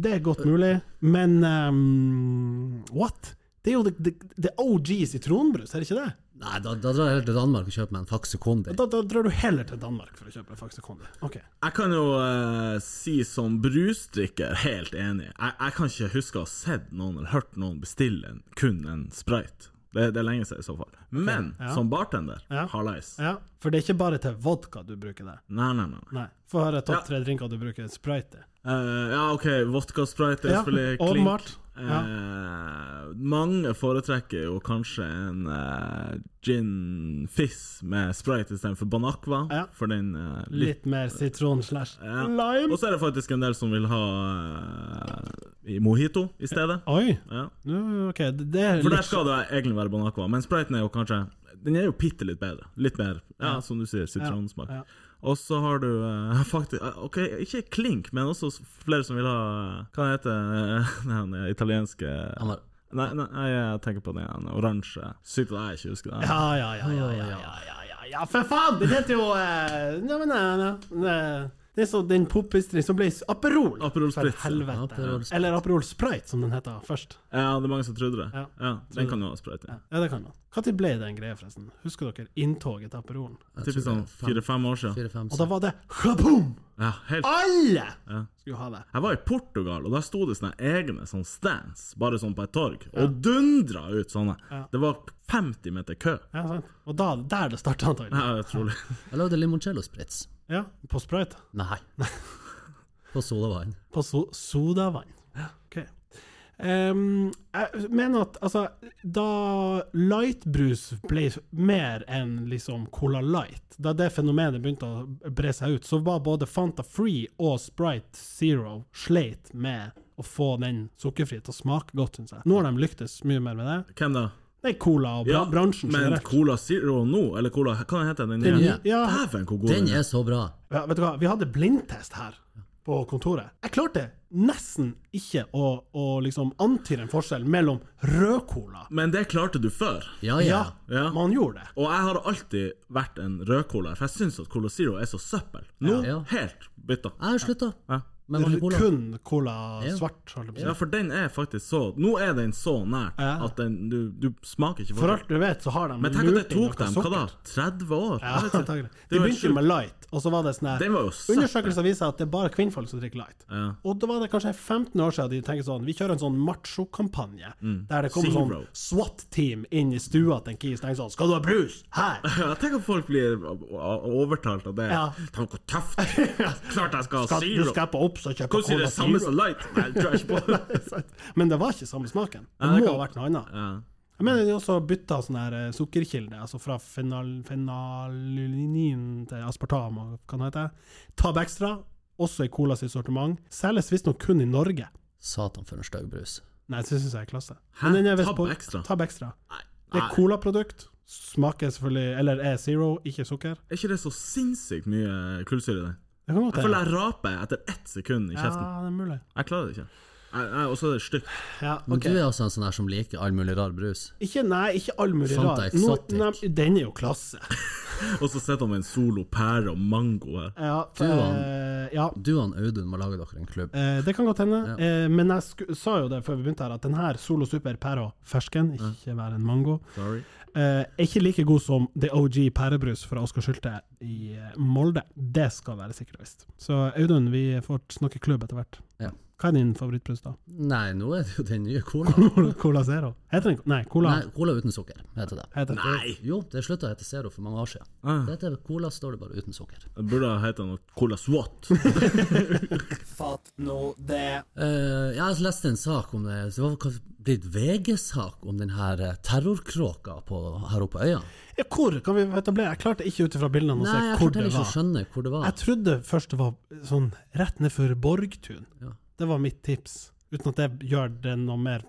Speaker 2: det er godt mulig, men ehm, what? Det er jo det, det, det er OG sitronbrus, er det ikke det?
Speaker 3: Nei, da, da drar jeg heller til Danmark og kjøper meg en Faxe Kondi.
Speaker 2: Da, da drar du heller til Danmark for å kjøpe Faxe Kondi. Ok.
Speaker 1: Jeg kan jo eh, si som brusdrikker, helt enig. Jeg, jeg kan ikke huske å ha sett noen eller hørt noen bestille en, kun en sprite. Det, det er lenge siden i så fall. Men
Speaker 2: ja.
Speaker 1: som bartender,
Speaker 2: Ja.
Speaker 1: hallais.
Speaker 2: Ja, for det er ikke bare til vodka du bruker det.
Speaker 1: Nei, nei, nei. nei.
Speaker 2: Nei. Få høre topp tre drinker du bruker Sprite til.
Speaker 1: Eh, ja, OK, vodkasprite er
Speaker 2: Ja,
Speaker 1: selvfølgelig klink.
Speaker 2: åpenbart. Ja.
Speaker 1: Eh, mange foretrekker jo kanskje en eh, gin fizz med sprite istedenfor Banacqua,
Speaker 2: Ja.
Speaker 1: for den eh, litt
Speaker 2: Litt mer sitron slash
Speaker 1: Ja.
Speaker 2: lime.
Speaker 1: Og så er det faktisk en del som vil ha eh, i mojito i stedet.
Speaker 2: Oi,
Speaker 1: Ja.
Speaker 2: nå- ok, det det er
Speaker 1: For der
Speaker 2: litt
Speaker 1: skal det egentlig være Banacqua, men spriten er jo kanskje Den er jo bitte litt bedre. Litt mer, ja, som du sier, sitronsmak.
Speaker 2: Ja, ja.
Speaker 1: Og så har du eh, faktisk eh, OK, ikke klink, men også s- flere som vil ha eh, Hva heter eh, den italienske
Speaker 3: Han var,
Speaker 1: Nei, nei, nei, jeg tenker på den igjen. Oransje. Sykt at jeg ikke husker det.
Speaker 2: Ja, ja, ja, ja, ja, ja, ja, ja, ja, for faen! Den heter jo eh, Nei, men nei, nei, nei. Det er så den popistrin som ble s- Aperol.
Speaker 1: Aperol Spritz,
Speaker 2: For helvete.
Speaker 3: Aperol Spritz.
Speaker 2: Eller Aperol Sprite, som den heter først.
Speaker 1: Ja, det er mange som trodde det.
Speaker 2: Ja.
Speaker 1: Ja, Den kan jo ha sprite i.
Speaker 2: Ja, det kan man. Når ble det en greie, forresten? Husker dere inntoget til Aperolen?
Speaker 3: jeg
Speaker 1: Typisk
Speaker 3: tror
Speaker 1: sånn
Speaker 3: det er fem-
Speaker 1: fire-fem år siden.
Speaker 3: fire, fem,
Speaker 2: Og da
Speaker 3: seks.
Speaker 2: var det kaboom!
Speaker 1: Ja, helt
Speaker 2: Alle skulle ha det.
Speaker 1: Jeg var i Portugal, og der sto det sånne egne sånn stands, bare sånn på et torg, og dundra ut sånne. Det var 50 meter kø.
Speaker 2: Ja, sant. Og da, der det starta, antagelig.
Speaker 1: Ja, det er trolig.
Speaker 3: Jeg lagde limoncello spritz.
Speaker 2: Ja, på sprøyt.
Speaker 3: Nei. På sodavann.
Speaker 2: På so sodavann. Ok. Ehm, jeg mener at altså, da lightbrus ble mer enn liksom Cola Light, da det fenomenet begynte å bre seg ut, så var både Fanta Free og Sprite Zero sleit med å få den sukkerfri til å smake godt, syns jeg. Nå har de lyktes mye mer med det.
Speaker 1: Hvem da?
Speaker 2: Det er Cola og bra bransjen
Speaker 1: men
Speaker 2: generelt.
Speaker 1: Cola Zero nå, eller Cola Hva heter den?
Speaker 2: Den-
Speaker 1: nye?
Speaker 2: ja.
Speaker 1: Dæven, hvor god
Speaker 3: Den er så bra.
Speaker 2: Ja, vet du hva, vi hadde blindtest her på kontoret. Jeg klarte nesten ikke å, å liksom antyde en forskjell mellom rød cola
Speaker 1: Men det klarte du før.
Speaker 3: Ja, ja.
Speaker 1: Ja.
Speaker 2: man gjorde det.
Speaker 1: Og jeg har alltid vært en rødcola, for jeg syns at Cola Zero er så søppel. Nå
Speaker 3: Ja.
Speaker 1: helt bytta.
Speaker 3: Jeg har slutta
Speaker 1: Ja.
Speaker 3: med vanlig cola.
Speaker 2: Kun cola
Speaker 3: Ja.
Speaker 2: svart, holdt jeg på å si.
Speaker 1: ja, for den er faktisk så Nå er den så nær
Speaker 2: Ja.
Speaker 1: at den, du, du smaker ikke
Speaker 2: For
Speaker 1: forskjell.
Speaker 2: alt du vet, så har de
Speaker 1: Men tenk at det
Speaker 2: lurt inn
Speaker 1: tok
Speaker 2: noe
Speaker 1: dem hva
Speaker 2: sukker.
Speaker 1: da, 30 år?
Speaker 2: Ja,
Speaker 1: Jeg vet ikke.
Speaker 2: antagelig.
Speaker 1: Det
Speaker 2: De
Speaker 1: var
Speaker 2: begynte jo
Speaker 1: sjukt.
Speaker 2: med light, og så var det sånn her
Speaker 1: Den var jo søppel.
Speaker 2: Undersøkelser viser at det er bare kvinnfolk som drikker light.
Speaker 1: Ja.
Speaker 2: Og da var det kanskje 15 år siden de tenkte sånn Vi kjører en sånn macho-kampanje der det kommer
Speaker 1: Mm. Zero.
Speaker 2: sånn SWAT-team inn i stua til en kis og tenker sånn Skal du ha brus? Her!
Speaker 1: Ja, tenk om folk blir overtalt av det.
Speaker 2: Ja.
Speaker 1: Tenk hvor tøft! Klart jeg skal ha
Speaker 2: Skal, du
Speaker 1: zero!
Speaker 2: skal på Ops og kjøpe
Speaker 1: Hvordan sier
Speaker 2: Cola
Speaker 1: det samme
Speaker 2: Zero.
Speaker 1: som light? Nei, det tror jeg ikke på.
Speaker 2: Men det var ikke samme smaken. Det
Speaker 1: Nei, det
Speaker 2: må
Speaker 1: kan-
Speaker 2: ha vært noe annet.
Speaker 1: Ja.
Speaker 2: Jeg mener de også bytta sånn her eh, sukkerkilde, altså fra fenal, fenalinin til aspartam og hva det heter. Tab Extra, også i Cola sitt sortiment. Selges visstnok kun i Norge.
Speaker 3: Satan, for en stygg brus.
Speaker 2: Nei, det syns jeg er klasse.
Speaker 1: Hæ?
Speaker 2: Men den er visst
Speaker 1: Tab
Speaker 2: på-
Speaker 1: Extra?
Speaker 2: Tab Extra.
Speaker 1: Nei.
Speaker 2: Det er colaprodukt. Smaker selvfølgelig Eller er zero, ikke sukker.
Speaker 1: Er ikke det så sinnssykt mye kullsyre i den?
Speaker 2: Det kan godt
Speaker 1: Jeg føler jeg raper etter ett sekund i
Speaker 2: Ja,
Speaker 1: kjeften.
Speaker 2: det er mulig.
Speaker 1: Jeg klarer det ikke. Jeg- jeg- Og så er det stygt.
Speaker 2: Ja,
Speaker 3: Men
Speaker 2: ok.
Speaker 3: du er altså en sånn her som liker all mulig rar brus.
Speaker 2: Ikke, nei, ikke all mulig
Speaker 3: Fanta
Speaker 2: rar. Nå,
Speaker 3: Exotic.
Speaker 2: nei, den er jo klasse.
Speaker 1: Og så sitter han med en solo pære og mango her.
Speaker 2: Ja,
Speaker 3: Du,
Speaker 2: eh, ja.
Speaker 3: Du og han Audun må lage dere en klubb.
Speaker 2: Eh, det kan godt hende,
Speaker 3: Ja.
Speaker 2: eh, men jeg sku, sa jo det før vi begynte her, at den her Solo Super pæra fersken, ikke være en mango,
Speaker 1: Sorry.
Speaker 2: eh, er ikke like god som The OG pærebrus fra Oskar Sylte i eh, Molde. Det skal være sikkert og visst. Så Audun, vi får snakke klubb etter hvert.
Speaker 3: Ja.
Speaker 2: Hva er din favorittbrus, da?
Speaker 3: Nei, nå er det jo den nye cola.
Speaker 2: Cola Zero? Heter den Nei, Cola
Speaker 3: Nei, cola uten sukker heter det.
Speaker 2: heter den.
Speaker 1: Nei!
Speaker 3: Jo, det slutta å hete Zero for mange år siden.
Speaker 1: Ah.
Speaker 3: Det heter Cola, står det bare uten sukker.
Speaker 1: Det burde ha hett noe Cola Swat.
Speaker 4: Fatt nå det.
Speaker 3: Eh, jeg har lest en sak om det, så det var kanskje blitt VG-sak om den her eh, terrorkråka på, her oppe på øya.
Speaker 2: Ja, hvor kan vi etablere? Jeg klarte ikke ut ifra bildene å
Speaker 3: Nei,
Speaker 2: se
Speaker 3: jeg
Speaker 2: hvor det
Speaker 3: klarte heller ikke å
Speaker 2: var.
Speaker 3: skjønne hvor det var.
Speaker 2: Jeg trodde først det var sånn rett nedfor Borgtun.
Speaker 3: Ja.
Speaker 2: Det var mitt tips. Uten at det gjør det noe mer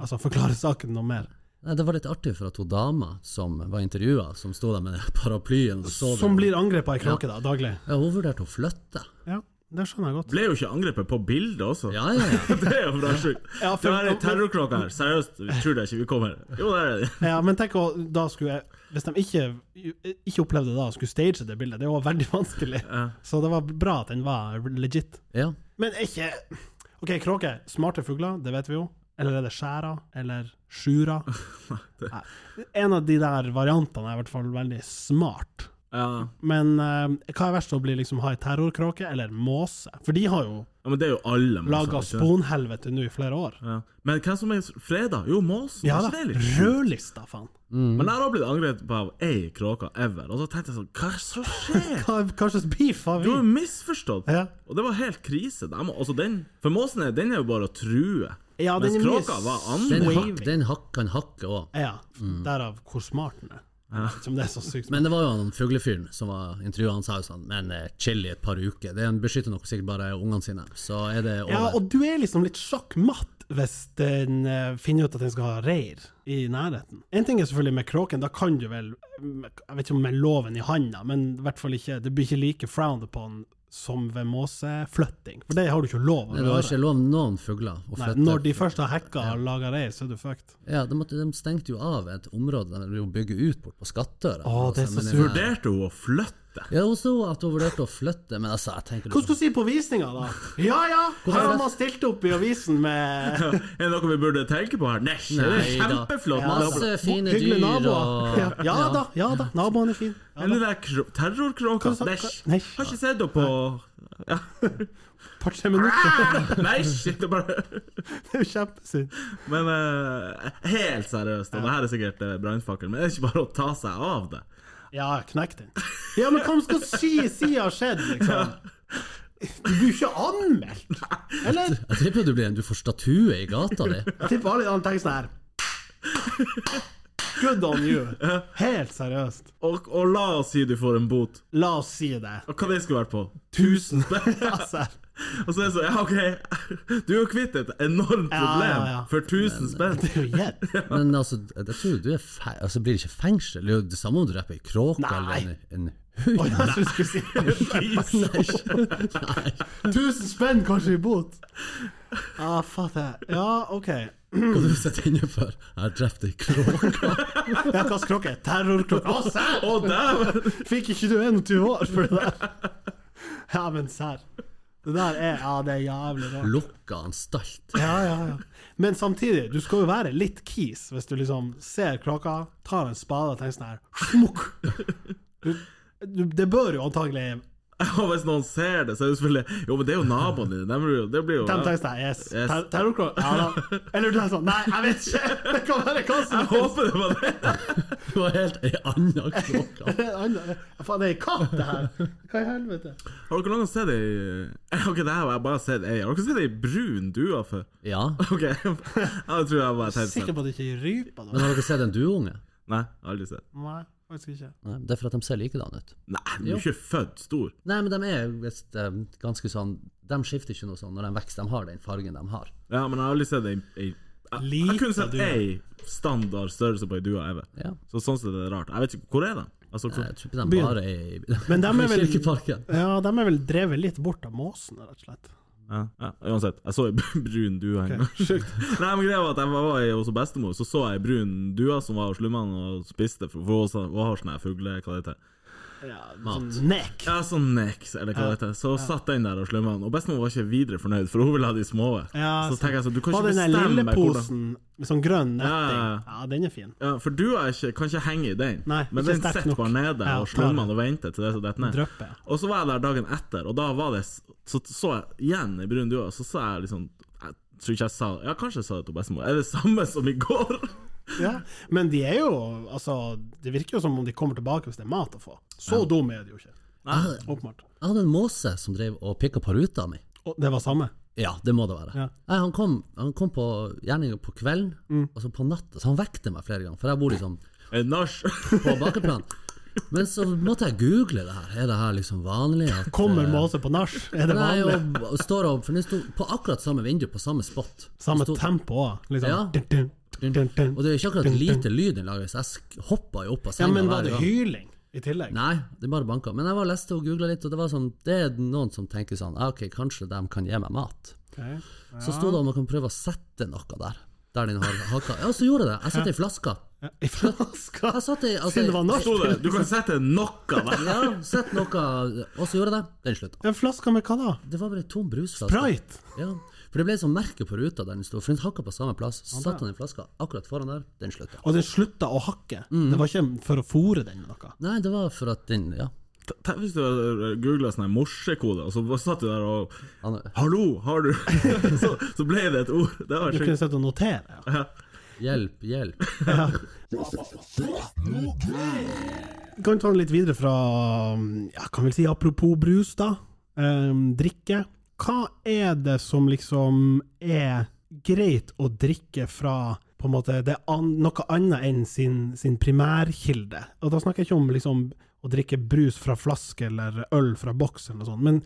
Speaker 2: Altså forklarer saken noe mer.
Speaker 3: Nei, det var litt artig for at hun dama som var intervjua, som sto der med paraplyen og så
Speaker 2: Som
Speaker 3: det.
Speaker 2: blir angrepet av ei kråke da, daglig.
Speaker 3: Ja, hun vurderte å flytte.
Speaker 2: Ja, det skjønner jeg godt.
Speaker 1: Ble jo ikke angrepet på bildet også.
Speaker 3: Ja, ja, ja.
Speaker 1: Det er jo bra sjukt.
Speaker 2: Ja, for-
Speaker 1: det her er terrorkråka her. Seriøst, vi tror det ikke vi kommer. Jo, det er det.
Speaker 2: Ja, men tenk å, da skulle jeg, Hvis de ikke, ikke opplevde det da, skulle stage det bildet. Det var veldig vanskelig. Så det var bra at den var legit.
Speaker 3: ja.
Speaker 2: Men er ikke OK, kråker. Smarte fugler, det vet vi jo. Eller er det skjæra? Eller sjura? Nei. En av de der variantene er i hvert fall veldig smart.
Speaker 1: Ja.
Speaker 2: Men eh, hva er verst å bli liksom ha ei terrorkråke eller måse? For de har jo
Speaker 1: ja, men det er jo alle måser,
Speaker 2: laga
Speaker 1: ikke det?
Speaker 2: sponhelvete nå i flere år.
Speaker 1: Ja. Men hvem som er freda? Jo, måsen.
Speaker 2: Ja
Speaker 1: er
Speaker 2: da.
Speaker 1: ikke det litt sjukt?
Speaker 2: Rødlista, faen.
Speaker 1: Men jeg har også blitt angrepet av ei kråke ever, og så tenkte jeg sånn Hva er det som skjer?
Speaker 2: Hva hva slags beef har
Speaker 1: Du
Speaker 2: vi?
Speaker 1: har jo misforstått!
Speaker 2: Ja.
Speaker 1: Og det var helt krise. De, må- altså den, for måsen er, den er jo bare å true.
Speaker 2: Ja, den
Speaker 1: Mens
Speaker 2: er mye
Speaker 1: kråka var Mm.
Speaker 3: Den,
Speaker 1: annerledes.
Speaker 3: hak, den hak, kan hakke òg.
Speaker 2: Ja, derav hvor smart den er. Som det er så sykt.
Speaker 3: Men det var jo han fuglefyren som var intervjua, han sa jo sånn Men eh, chill i et par uker. Den beskytter nok sikkert bare ungene sine. Så er det over.
Speaker 2: Ja, og du er liksom litt sjakkmatt hvis den eh, finner ut at den skal ha reir i nærheten. En ting er selvfølgelig med kråken, da kan du vel mm, Jeg vet ikke om med loven i handa, men i hvert fall ikke Det blir ikke like frowned upon som ved måseflytting, for det har du ikke lov å
Speaker 3: Det var
Speaker 2: gjøre.
Speaker 3: ikke lov noen fugler å
Speaker 2: Nei,
Speaker 3: flytte.
Speaker 2: når de først har hacka og laga reir, så er du fucked.
Speaker 3: Ja, de, måtte, de stengte jo av et område der de bygger ut bort på Skattøra. Altså,
Speaker 2: Å, det er så
Speaker 3: Men
Speaker 2: surt.
Speaker 3: her-
Speaker 1: Vurderte hun å flytte?
Speaker 3: Ja, hun så at hun vurderte å flytte, men altså, jeg tenker
Speaker 2: Hva skal du si på visninga, da? Ja ja, her har
Speaker 3: det?
Speaker 2: man stilt opp i avisen med
Speaker 1: Er det noe vi burde tenke på her? Nei, det er
Speaker 3: Nei da.
Speaker 1: kjempeflott!
Speaker 3: Ja,
Speaker 1: nabo.
Speaker 3: altså- Det er fine
Speaker 2: Hyggelige
Speaker 3: dyr
Speaker 2: naboer.
Speaker 3: og-
Speaker 2: Ja, ja da, ja da, naboen er fin. Ja,
Speaker 1: Eller det der kro- terrorkråka?
Speaker 2: Hva sa-
Speaker 1: Nei,
Speaker 2: hva- nei.
Speaker 1: har ikke sett henne på ja.
Speaker 2: Par-tre minutter,
Speaker 1: Ah! Nei, shit, det er bare
Speaker 2: det er jo kjempesynd.
Speaker 1: Men eh, helt seriøst, og det her er sikkert uh, brannfakkel, men det er ikke bare å ta seg av det.
Speaker 2: Ja, knekk den. Ja, men hva man skal si siden har skjedd, liksom? Du blir jo ikke anmeldt! Eller?
Speaker 3: Jeg tipper du blir en du får statue i gata di.
Speaker 2: Jeg tipper alle de andre tenker sånn her. Good on you. Helt seriøst.
Speaker 1: Og, og la oss si du får en bot.
Speaker 2: La oss si det.
Speaker 1: Og hva det skulle vært på?
Speaker 2: Tusen Altså,
Speaker 1: Og så er det sånn, ja, OK, du er jo kvitt et enormt problem
Speaker 2: Ja, ja, ja.
Speaker 1: for 1000 spenn.
Speaker 2: det er jo gjett.
Speaker 3: Men altså, jeg tror du er fe altså, blir det ikke fengsel. Det er jo det samme om du dreper ei kråke
Speaker 2: Nei.
Speaker 3: eller en, en hund.
Speaker 2: Oi, jeg trodde du skulle si
Speaker 3: Nei.
Speaker 2: Tusen spenn, kanskje, i bot. Ah, fatter. jeg. Ja, OK.
Speaker 3: Hva du sitter inne for? Jeg har drept ei kråke.
Speaker 2: Ja, hva skrokke? Terrorklokke. Å, serr!
Speaker 1: Å, dæven!
Speaker 2: Fikk ikke du 21 år for det der? Ja, men serr. Det der er Ja, det er jævlig rart.
Speaker 3: Lukka han stalt.
Speaker 2: Ja, ja, ja. Men samtidig, du skal jo være litt kis hvis du liksom ser kråka, tar en spade og tenker sånn her Smukk! Du, du, det bør jo antagelig
Speaker 1: Og hvis noen ser det, så er det selvfølgelig Jo, men det er jo naboen din. Det blir jo, det blir jo
Speaker 2: De tenker sånn her, Yes.
Speaker 1: Yes.
Speaker 2: ter- Terrorkråka? Ja da. Eller du tenker sånn Nei, jeg vet ikke! Det kan være hva som
Speaker 1: Jeg
Speaker 2: helst.
Speaker 1: håper det var det.
Speaker 3: Det var helt ei anna klokka.
Speaker 2: Anna- Faen, det er ei katt, det her! Hva i helvete?
Speaker 1: Har dere noen gang sett ei Jeg har ikke det her, jeg har bare sett ei. Har dere sett ei brun due før?
Speaker 3: Ja.
Speaker 1: Ok, jeg tror jeg bare tenkte
Speaker 2: Sikker
Speaker 1: sånn.
Speaker 2: på at det ikke er rype, da?
Speaker 3: Men har dere sett en dueunge?
Speaker 1: Nei, aldri sett.
Speaker 2: Nei, faktisk ikke.
Speaker 3: Nei, det er for at de ser likedan ut.
Speaker 1: Nei, du er ikke født stor.
Speaker 3: Nei, men de er visst eh, ganske sånn De skifter ikke noe sånn når de vokser. De har den fargen de har.
Speaker 1: Ja, men jeg har aldri sett ei, ei jeg, jeg
Speaker 2: Liten
Speaker 1: kunne sett
Speaker 2: due.
Speaker 1: ei standard størrelse på ei due. jeg vet.
Speaker 3: Ja.
Speaker 1: Så sånn sett er det rart. Jeg vet ikke, Hvor er den? Altså, hvor,
Speaker 3: Eh, Jeg tror ikke de
Speaker 2: Byen.
Speaker 3: bare er i,
Speaker 2: Men de er
Speaker 3: i
Speaker 2: vel-
Speaker 3: Kirkeparken.
Speaker 2: Ja, de er vel drevet litt bort av måsen, rett og slett.
Speaker 1: ja, ja, uansett, jeg så ei brun due en gang.
Speaker 2: Sjukt.
Speaker 1: Nei, men greia var at jeg var- var i- hos bestemor, så så jeg ei brun due som var hos slummene og spiste, for for hun sa- hun har sånn her fugle... Hva det heter
Speaker 2: Ja, sånn Nek.
Speaker 1: Ja, sånn nex, eller hva det heter. Så satt den der og slumma den. Og bestemor var ikke videre fornøyd, for hun ville ha de små.
Speaker 2: Ja,
Speaker 1: så
Speaker 2: sant.
Speaker 1: tenker jeg sånn, du kan
Speaker 2: Og
Speaker 1: ikke
Speaker 2: den der lille
Speaker 1: bestemme meg hvordan
Speaker 2: posen med sånn grønn
Speaker 1: Ja,
Speaker 2: netting. Ja, den er fin.
Speaker 1: ja, For du er ikke, kan ikke henge i den,
Speaker 2: Nei,
Speaker 1: men
Speaker 2: ikke
Speaker 1: den
Speaker 2: sterk
Speaker 1: sitter
Speaker 2: nok.
Speaker 1: bare nede
Speaker 2: Ja,
Speaker 1: og
Speaker 2: klar.
Speaker 1: slummer den og venter til det som detter ned.
Speaker 2: Drypper, ja.
Speaker 1: Og så var jeg der dagen etter, og da var det s- Så så jeg igjen i brun due, og så sa jeg liksom Jeg tror ikke jeg sa Ja, kanskje jeg sa det til bestemor. Er det samme som i går?
Speaker 2: Ja. Men de er jo Altså, det virker jo som om de kommer tilbake hvis det er mat å få. Så dum er de jo ikke. Åpenbart.
Speaker 3: Jeg hadde en måse som drev og pikka på ruta mi.
Speaker 2: Og det var samme.
Speaker 3: Ja, det må det være.
Speaker 2: Ja.
Speaker 3: Nei, han, kom, han kom på gjerninga på kvelden,
Speaker 2: Mm.
Speaker 3: og så på natta. Så han vekte meg flere ganger, for jeg bor liksom
Speaker 1: Er det nach?
Speaker 3: på bakeplan. Men så måtte jeg google det her. Er det her liksom vanlig? At,
Speaker 2: Kommer måse på nach? Er det
Speaker 3: Nei,
Speaker 2: vanlig?
Speaker 3: og, og står og For den sto på akkurat samme vindu, på samme spot.
Speaker 2: Samme
Speaker 3: Den sto-
Speaker 2: tempo òg,
Speaker 3: Ja.
Speaker 2: liksom. Dun, dun, dun, dun.
Speaker 3: Og det er jo ikke akkurat lite lyd den lager, så jeg sk- hoppa jo opp av
Speaker 2: Ja,
Speaker 3: senga
Speaker 2: men var det
Speaker 3: hver gang.
Speaker 2: hyling i tillegg?
Speaker 3: Nei, det bare banka. Men jeg var leste og googla litt, og det var sånn Det er noen som tenker sånn ah, Ok, kanskje de kan gi meg mat.
Speaker 2: Ok.
Speaker 3: Så sto det om man kan prøve å sette noe der. Der den har haka. Ja, så gjorde jeg det. Jeg satte i flaska.
Speaker 2: Ja, I flaska?
Speaker 3: Jeg satte i altså,
Speaker 2: Siden det var norsk?
Speaker 1: Sto det, Du kan sette noe der.
Speaker 3: Ja, sett noe Og så gjorde jeg det. Den slutta.
Speaker 2: En flaske med hva da?
Speaker 3: Det var bare ei tom brusflaske.
Speaker 2: Sprite?
Speaker 3: Ja. For det ble et sånt merke på ruta der den sto. For den hakka på samme plass. Så satte han i flaska akkurat foran der. Den slutta.
Speaker 2: Og den slutta å hakke. Det var ikke for å fôre den med noe.
Speaker 3: Nei, det var for at den Ja.
Speaker 1: Tenk hvis du googla sånn her morsekode, og så bare satt du der og
Speaker 3: Han,
Speaker 1: Hallo, har du så, så ble det et ord. Det var
Speaker 2: Du kunne
Speaker 1: sjukt.
Speaker 2: sett og notere. Ja.
Speaker 3: hjelp, hjelp.
Speaker 2: Kan ta den litt videre fra ja, Kan vel si apropos brus, da. Ehm, drikke. Hva er det som liksom er greit å drikke fra på en måte, det er an, noe annet enn sin, sin primærkilde? Og da snakker jeg ikke om liksom, å drikke brus fra flaske eller øl fra boks, eller noe sånt, men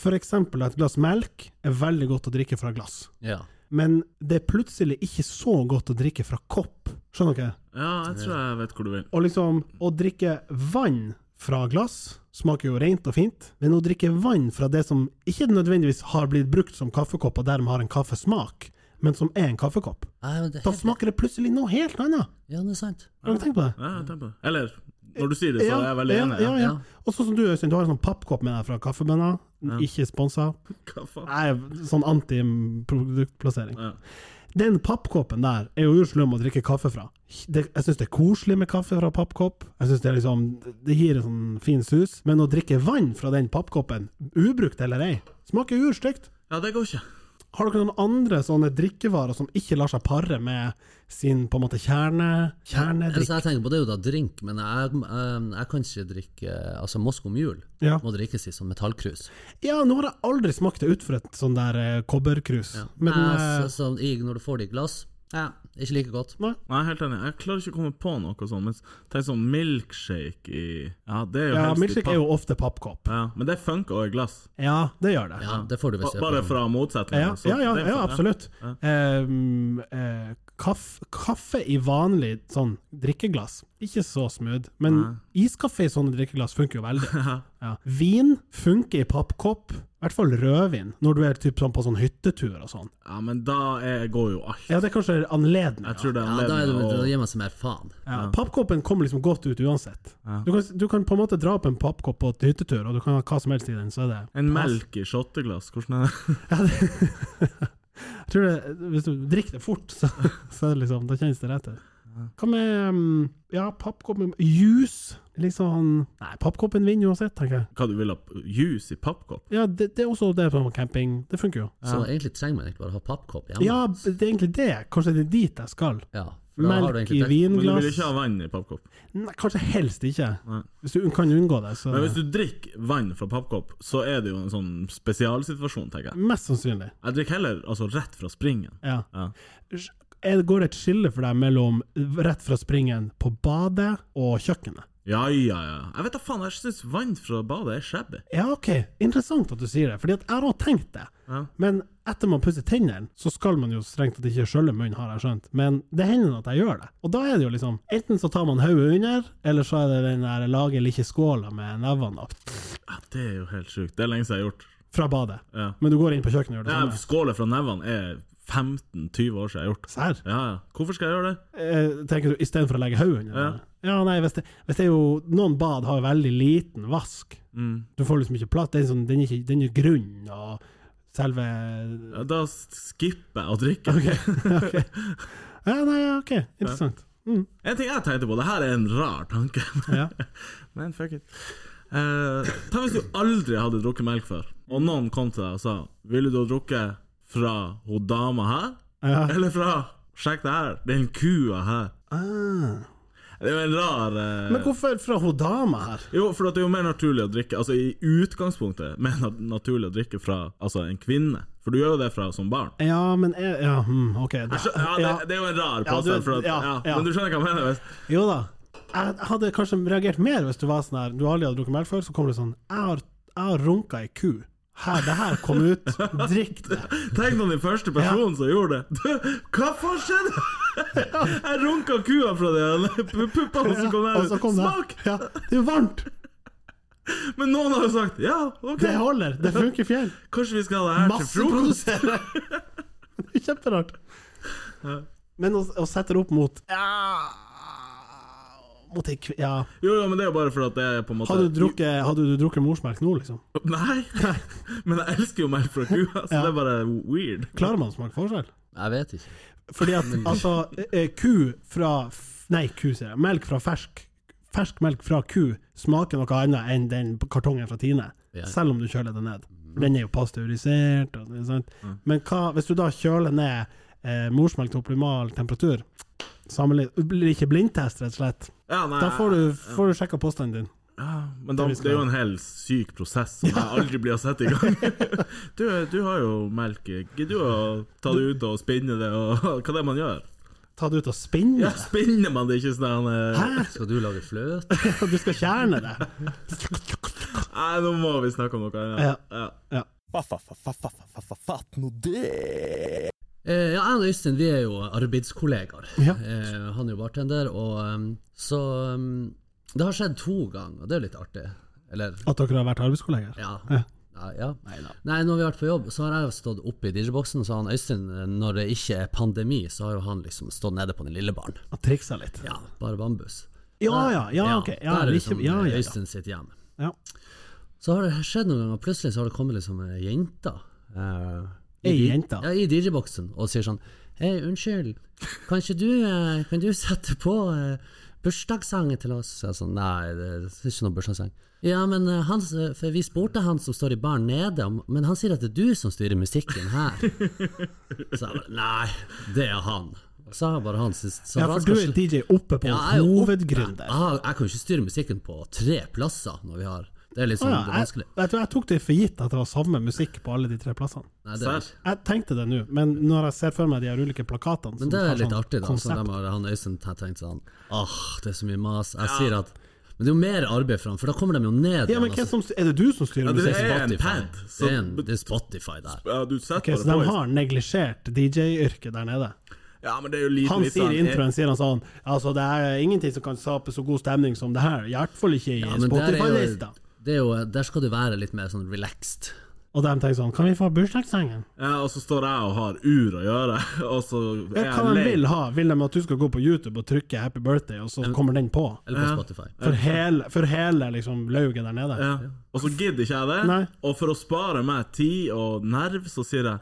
Speaker 2: f.eks. et glass melk er veldig godt å drikke fra glass.
Speaker 3: Ja.
Speaker 2: Men det er plutselig ikke så godt å drikke fra kopp. Skjønner dere?
Speaker 1: Ja, jeg tror jeg vet hvor du vil.
Speaker 2: Og liksom, å drikke vann fra glass smaker jo rent og fint, men å drikke vann fra det som ikke nødvendigvis har blitt brukt som kaffekopp, og dermed har en kaffesmak, men som er en kaffekopp,
Speaker 3: Nei, men det,
Speaker 2: da smaker det plutselig noe helt annet.
Speaker 3: ja, det er sant.
Speaker 2: Har dere tenkt på det?
Speaker 1: Ja, jeg tenker på det. Eller når du sier det, så er jeg veldig
Speaker 2: ja,
Speaker 1: enig.
Speaker 2: Ja, ja. Og sånn som du, Øystein, du har en sånn pappkopp med deg fra Kaffebønna. Ikke sponsa.
Speaker 1: Hva faen?
Speaker 2: Nei, sånn anti-produktplassering.
Speaker 1: Ja.
Speaker 2: Den pappkoppen der er jo urslum å drikke kaffe fra. Det, jeg syns det er koselig med kaffe fra pappkopp. Jeg synes Det er liksom, det gir en sånn fin sus. Men å drikke vann fra den pappkoppen, ubrukt eller ei, smaker urstygt.
Speaker 1: ja, det går ikke.
Speaker 2: Har dere noen andre sånne drikkevarer som ikke lar seg pare med sin på en måte kjerne,
Speaker 3: Eller
Speaker 2: kjernedrikk?
Speaker 3: så Altså, jeg tenker på det er jo da drink, men jeg, jeg, jeg kan ikke drikke Altså, Moscow Mule
Speaker 2: Ja.
Speaker 3: må drikkes i sånn metallkrus.
Speaker 2: Ja, nå har jeg aldri smakt det ut for et sånn der eh, kobberkrus. Men
Speaker 3: Jeg-
Speaker 2: eh,
Speaker 3: så, så, i, når du får det i glass ja, Ikke like godt.
Speaker 1: Nei, jeg er helt enig. Jeg klarer ikke å komme på noe sånt. Men tenk sånn milkshake i Ja, det er jo
Speaker 2: ja,
Speaker 1: helst i
Speaker 2: milkshake
Speaker 1: papp.
Speaker 2: er jo ofte pappkopp.
Speaker 1: ja, Men det funker også i glass.
Speaker 2: Ja, det gjør det.
Speaker 3: Ja, det får du
Speaker 1: Ba-
Speaker 3: hvis
Speaker 1: Bare fra
Speaker 2: Ja,
Speaker 1: motsetninger. så
Speaker 2: ja, ja,
Speaker 1: det er sånn,
Speaker 2: ja
Speaker 1: for-
Speaker 2: absolutt. Ehm, eh, kaff, kaffe i vanlig sånn drikkeglass, ikke så smooth, men iskaffe i sånne drikkeglass funker jo veldig. Ja. Vin funker i pappkopp, i hvert fall rødvin, når du er typ sånn på sånn hyttetur og sånn.
Speaker 1: Ja, men da er, går jo alt.
Speaker 2: Ja, det er kanskje anledning.
Speaker 1: Jeg tror det er
Speaker 3: Ja, da, er det,
Speaker 1: anledning
Speaker 3: da
Speaker 1: å
Speaker 3: gir man seg mer faen.
Speaker 2: Ja. Pappkoppen kommer liksom godt ut uansett. Du, kan, du kan på en måte dra opp en pappkopp på et hyttetur, og du kan ha hva som helst i den, så er det
Speaker 1: En melk i shotteglass, hvordan er det?
Speaker 2: Ja, det, jeg tror det, hvis du drikker det fort, så, så er det liksom, da kjennes det rett ut. Hva med mm, ja, pappkoppen Juice? Liksom Nei, pappkoppen vinner uansett, tenker jeg.
Speaker 1: Hva du vil ha? Juice i pappkopp?
Speaker 2: Ja, det, det er også det på camping. Det funker jo.
Speaker 3: Så egentlig trenger man ikke bare ha pappkopp hjemme.
Speaker 2: Ja, det er egentlig det. Kanskje det er dit jeg skal.
Speaker 3: Ja, da har du
Speaker 2: Melk i
Speaker 3: egentlig dekket-
Speaker 1: Men du vil
Speaker 2: vinglass
Speaker 1: ikke ha vann i pappkopp.
Speaker 2: Nei, Kanskje helst ikke. Hvis du kan unngå det, så
Speaker 1: Men hvis du drikker vann fra pappkopp, så er det jo en sånn spesialsituasjon, tenker jeg.
Speaker 2: Mest sannsynlig.
Speaker 1: Jeg drikker heller altså, rett fra springen.
Speaker 2: Ja.
Speaker 1: Ja.
Speaker 2: Er, går det et skille for deg mellom rett fra springen på badet og kjøkkenet?
Speaker 1: Ja, ja, ja. Jeg vet da faen, jeg syns vann fra badet er shabby.
Speaker 2: Ja, OK, interessant at du sier det, Fordi at jeg har også tenkt det. Men etter man pusser tennene, så skal man jo strengt tatt ikke skjølle munnen, har jeg skjønt. Men det hender at jeg gjør det. Og da er det jo liksom Enten så tar man hodet under, eller så er det den der lage lille skåla med nevene da,
Speaker 1: Ja, det er jo helt sjukt. Det er lenge siden jeg har gjort.
Speaker 2: fra badet.
Speaker 1: Ja.
Speaker 2: Men du går inn på kjøkkenet og gjør det
Speaker 1: Jeg
Speaker 2: samme.
Speaker 1: skåler fra nevene er 15-20 år siden jeg har gjort.
Speaker 2: Serr?
Speaker 1: Ja, ja. Hvorfor skal jeg gjøre det?
Speaker 2: Eh, tenker du, istedenfor å legge hodet under? Ja. ja, nei, hvis det, hvis det er jo Noen bad har jo veldig liten vask.
Speaker 1: Mm.
Speaker 2: Du får liksom ikke plass. Den er, sånn, den er, ikke, den er grunn, og selve
Speaker 1: Ja, da skipper jeg å drikke.
Speaker 2: OK. ok. Ja, nei, ja, OK. Interessant. Mm.
Speaker 1: En ting jeg tenkte på, det her er en rar tanke,
Speaker 2: Ja.
Speaker 1: men fuck it. Eh, ta hvis du aldri hadde drukket melk før, og noen kom til deg og sa Ville du ha drukket fra ho dama her,
Speaker 2: Ja.
Speaker 1: eller fra Sjekk det her, den kua her?
Speaker 2: Ah.
Speaker 1: Det er jo en rar eh,
Speaker 2: Men hvorfor fra hun dama her?
Speaker 1: Jo, for at det er jo mer naturlig å drikke Altså i utgangspunktet mer na- naturlig å drikke fra altså, en kvinne, for du gjør jo det fra som barn.
Speaker 2: Ja, men er, Ja, mm, OK. Da,
Speaker 1: Skjø- Ja, det,
Speaker 2: ja.
Speaker 1: det er jo en rar
Speaker 2: Ja, du-
Speaker 1: påstand, for at, ja,
Speaker 2: ja, ja.
Speaker 1: men du skjønner hva jeg mener? Hvis,
Speaker 2: Jo da. Jeg hadde kanskje reagert mer hvis du var sånn her Du aldri hadde drukket melk før, så kommer du sånn Jeg har, jeg har runka ei ku. Her, det her kom ut. Drikk det.
Speaker 1: Tenk deg den første personen som gjorde det. Du, hva faen skjedde? Jeg runka kua fra de puppene som kom
Speaker 2: Ja, og
Speaker 1: der
Speaker 2: så
Speaker 1: ut.
Speaker 2: kom det.
Speaker 1: Smak!
Speaker 2: Ja, det er jo varmt!
Speaker 1: Men noen har jo sagt ja, OK,
Speaker 2: Det holder! Det funker fjell.
Speaker 1: kanskje vi skal ha det her til frokost?
Speaker 2: Masseprodusere! Det er Kjemperart. Men å, å sette det opp mot ja, Mot ei kvi... Ja.
Speaker 1: Jo, jo, men det er jo bare for at det er på en måte
Speaker 2: Hadde du drukket, hadde du drukket morsmelk nå, liksom?
Speaker 1: Nei, men jeg elsker jo melk fra kua, så
Speaker 2: Ja.
Speaker 1: det er bare weird.
Speaker 2: Klarer man å smake forskjell?
Speaker 3: Jeg vet ikke.
Speaker 2: Fordi at altså, eh, ku fra f- Nei, ku, sier jeg. Melk fra fersk Fersk melk fra ku smaker noe annet enn den kartongen fra Tine,
Speaker 3: Ja.
Speaker 2: selv om du kjøler det ned. Den er jo pasteurisert. Og, det, sant? Men hva, hvis du da kjøler ned eh, morsmelk til optimal temperatur sammenlign- Du blir ikke blindtest, rett og slett.
Speaker 1: Ja, nei,
Speaker 2: Da får du, får du sjekka påstanden din.
Speaker 1: men da, det er jo en hel syk prosess som jeg aldri blir satt i gang. Du, du har jo melk. Gidder du å ta det ut og spinne det, og hva det er man gjør?
Speaker 2: Ta det ut og spinne.
Speaker 1: Ja, spinner man det ikke sånn eh,
Speaker 2: Hæ?
Speaker 3: Skal du lage fløte?
Speaker 2: Du skal kjerne det.
Speaker 1: Nei, nå må vi snakke om noe
Speaker 2: Ja.
Speaker 1: annet. Ja.
Speaker 2: Ja.
Speaker 4: Fatt nå det!
Speaker 3: Eh, ja, jeg og Øystein vi er jo arbeidskollegaer.
Speaker 2: Ja.
Speaker 3: Eh, han er jo bartender, og em, så em, Det har skjedd to ganger, og det er jo litt artig. Eller
Speaker 2: At dere har vært arbeidskolleger?
Speaker 3: Ja. ja, ja. Nei, når vi har vært på jobb, så har jeg jo stått oppe i DJ-boksen, så han Øystein, eh, når det ikke er pandemi, så har jo han liksom stått nede på den lille baren.
Speaker 2: Og triksa litt?
Speaker 3: Ja, bare bambus.
Speaker 2: Ja Ah, ja, ja, ok. Ja,
Speaker 3: der er
Speaker 2: liksom,
Speaker 3: liksom
Speaker 2: ja, ja, ja.
Speaker 3: Øystein sitt hjem.
Speaker 2: ja.
Speaker 3: Så har det skjedd noen ganger, plutselig så har det kommet liksom ei jente. eh, i
Speaker 2: Ei
Speaker 3: di-
Speaker 2: jente?
Speaker 3: Ja, i DJ-boksen, og sier sånn Hei, unnskyld, kan ikke du, eh, kan du sette på eh, bursdagssangen til oss? Så jeg sånn, nei, det det er ikke noe bursdagssang. Ja, men eh, han, s- for vi spurte han som står i baren nede, om- men han sier at det er du som styrer musikken her. Så jeg bare, nei, det er han. Så har bare han syntes så
Speaker 2: Ja,
Speaker 3: han
Speaker 2: for
Speaker 3: skal
Speaker 2: du er
Speaker 3: sl-
Speaker 2: DJ oppe på
Speaker 3: Ja, jeg er jo opp-
Speaker 2: hovedgründer.
Speaker 3: Jeg, har- jeg kan jo ikke styre musikken på tre plasser når vi har Det er litt
Speaker 2: Å
Speaker 3: sånn
Speaker 2: ja,
Speaker 3: det er
Speaker 2: jeg,
Speaker 3: vanskelig.
Speaker 2: vet du, jeg tok det for gitt at det var samme musikk på alle de tre plassene.
Speaker 3: Nei, det er,
Speaker 1: Serr?
Speaker 2: Jeg tenkte det nå, men når jeg ser for meg de her ulike plakatene
Speaker 3: men det
Speaker 2: har
Speaker 3: er litt
Speaker 2: sånn
Speaker 3: artig, da. Så
Speaker 2: konsept-
Speaker 3: de har, han Øystein har tenkt sånn Åh, det er så mye mas. Jeg sier at Men det er jo mer arbeid for ham, for da kommer de jo ned
Speaker 2: Ja,
Speaker 3: igjen, altså.
Speaker 2: men hvem som, styr- Er det du som styrer
Speaker 1: det
Speaker 2: musikken?
Speaker 1: er en
Speaker 3: Spotify.
Speaker 1: pad, så-
Speaker 3: det, er en, det er Spotify der.
Speaker 1: ja, du setter
Speaker 2: Ok, så de
Speaker 1: bare på.
Speaker 2: har neglisjert DJ-yrket der nede.
Speaker 1: Ja, men det er jo litt,
Speaker 2: Han
Speaker 1: litt
Speaker 2: sier
Speaker 1: sånn-
Speaker 2: i introen sier han sånn Altså, det er ingenting som kan skape så god stemning som det her. I hvert fall ikke i
Speaker 3: Ja, men der, er jo,
Speaker 2: Spotify-lista.
Speaker 3: det er jo, der skal du være litt mer sånn relaxed.
Speaker 2: Og de tenker sånn Kan vi få bursdagssangen?
Speaker 1: Ja, og så står jeg og har ur å gjøre, og så er
Speaker 2: Ja,
Speaker 1: jeg
Speaker 2: hva de
Speaker 1: lei.
Speaker 2: vil ha? Vil de at du skal gå på YouTube og trykke 'Happy Birthday', og så kommer den på?
Speaker 3: Eller på Spotify.
Speaker 2: For hele, for hele liksom, lauget der nede?
Speaker 1: Ja. Og så gidder ikke jeg det.
Speaker 2: Nei.
Speaker 1: Og for å spare meg tid og nerv, så sier jeg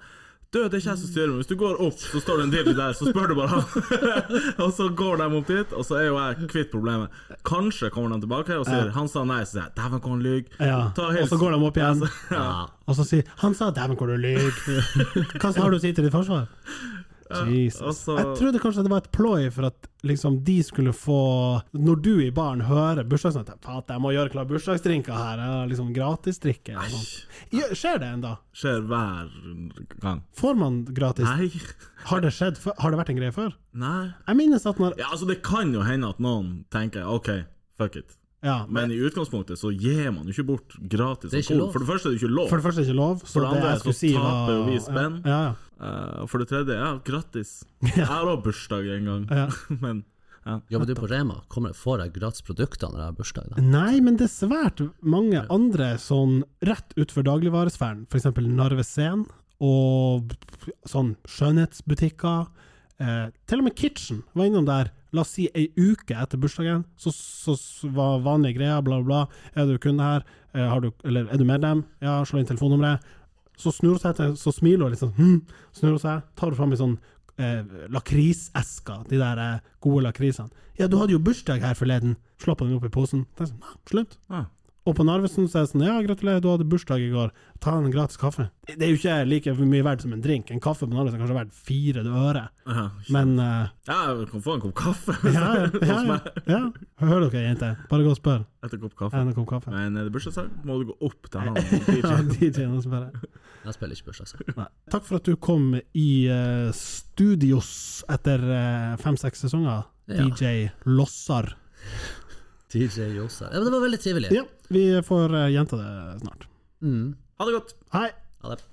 Speaker 1: du, det er ikke jeg som styrer, men hvis du går opp, så står det en DJ der, så spør du bare han. og så går de opp dit, og så er jo jeg kvitt problemet. Kanskje kommer de tilbake og sier han sa nei, så sier jeg dæven, hvor han lyver.
Speaker 2: Ja.
Speaker 1: Ta
Speaker 2: Og
Speaker 1: hils.
Speaker 2: så går de opp igjen,
Speaker 3: Ja.
Speaker 2: og så sier 'Han sa 'dæven, hvor du lyver'. Hva har du å si til ditt forsvar? Jesus.
Speaker 1: altså-
Speaker 2: Jeg trodde kanskje det var et ploy for at liksom de skulle få Når du i baren hører bursdagsnatt Faen, jeg må gjøre klar bursdagsdrinker her. Jeg har liksom gratisdrikke. eller noe sånt. Gjør- Skjer det ennå?
Speaker 1: Skjer hver gang.
Speaker 2: Får man gratis?
Speaker 1: Nei.
Speaker 2: Har det skjedd før? Har det vært en greie før?
Speaker 1: Nei.
Speaker 2: Jeg minnes at når
Speaker 1: Ja, altså, det kan jo hende at noen tenker OK, fuck it.
Speaker 2: Ja,
Speaker 1: Men i utgangspunktet så gir man jo ikke bort gratis
Speaker 3: Det er
Speaker 1: alkohol.
Speaker 3: ikke lov.
Speaker 1: For det første er det ikke lov.
Speaker 2: For det første er det ikke lov, så
Speaker 1: For det andre
Speaker 2: jeg skulle
Speaker 1: så
Speaker 2: si var-
Speaker 1: taper jo vi spenn.
Speaker 2: Ja, ja.
Speaker 1: Eh, og for det tredje, ja, grattis. Jeg har også bursdag en gang.
Speaker 2: Ja.
Speaker 1: Men
Speaker 3: Jobber du på Rema, kommer, får jeg gratis produkter når jeg har bursdag? da?
Speaker 2: Nei, men det er svært mange andre sånn rett utfor dagligvaresfæren, f.eks. Narvesen og sånn skjønnhetsbutikker. Eh, til og med Kitchen var innom der. La oss si ei uke etter bursdagen, så, så, så var vanlige greier, bla, bla. Er du kunde her? Eh, har du, eller er du medlem? Ja, slå inn telefonnummeret. Så snur hun seg til, så smiler hun litt sånn, hm, snur hun seg, tar fram ei sånn eh, lakrisesker, de der eh, gode lakrisene. Ja, du hadde jo bursdag her forleden. Slappa den opp i posen. Det er sånn, «Nei, slutt.
Speaker 1: ja.
Speaker 2: Og på Narvesen så er det sånn, ja, gratulerer, du hadde bursdag i går. Ta en gratis kaffe. Det det er jo ikke like mye verdt som en drink. En kaffe på Narvesen er kanskje verdt fire øre.
Speaker 1: Ja,
Speaker 2: Men eh,
Speaker 1: ja jeg kan få en kopp kaffe
Speaker 2: ja, ja, ja, ja. Hører dere, jenter? Bare gå og spør.
Speaker 1: etter en kopp kaffe.
Speaker 2: Er det en kopp kaffe?
Speaker 1: Men er det bursdagssang, må du gå opp til han
Speaker 2: Ja,
Speaker 1: DJ-en.
Speaker 2: DJ-en også bare.
Speaker 3: Jeg spiller ikke bursdag, så.
Speaker 2: Nei. Takk for at du kom i eh, studios etter eh, fem-seks sesonger,
Speaker 3: Ja.
Speaker 2: DJ Lossar.
Speaker 3: DJ Josa. Ja, men det var veldig trivelig.
Speaker 2: Ja, vi får eh, gjenta det snart.
Speaker 3: Mm.
Speaker 1: Ha det godt!
Speaker 2: Hei!
Speaker 3: Ha det.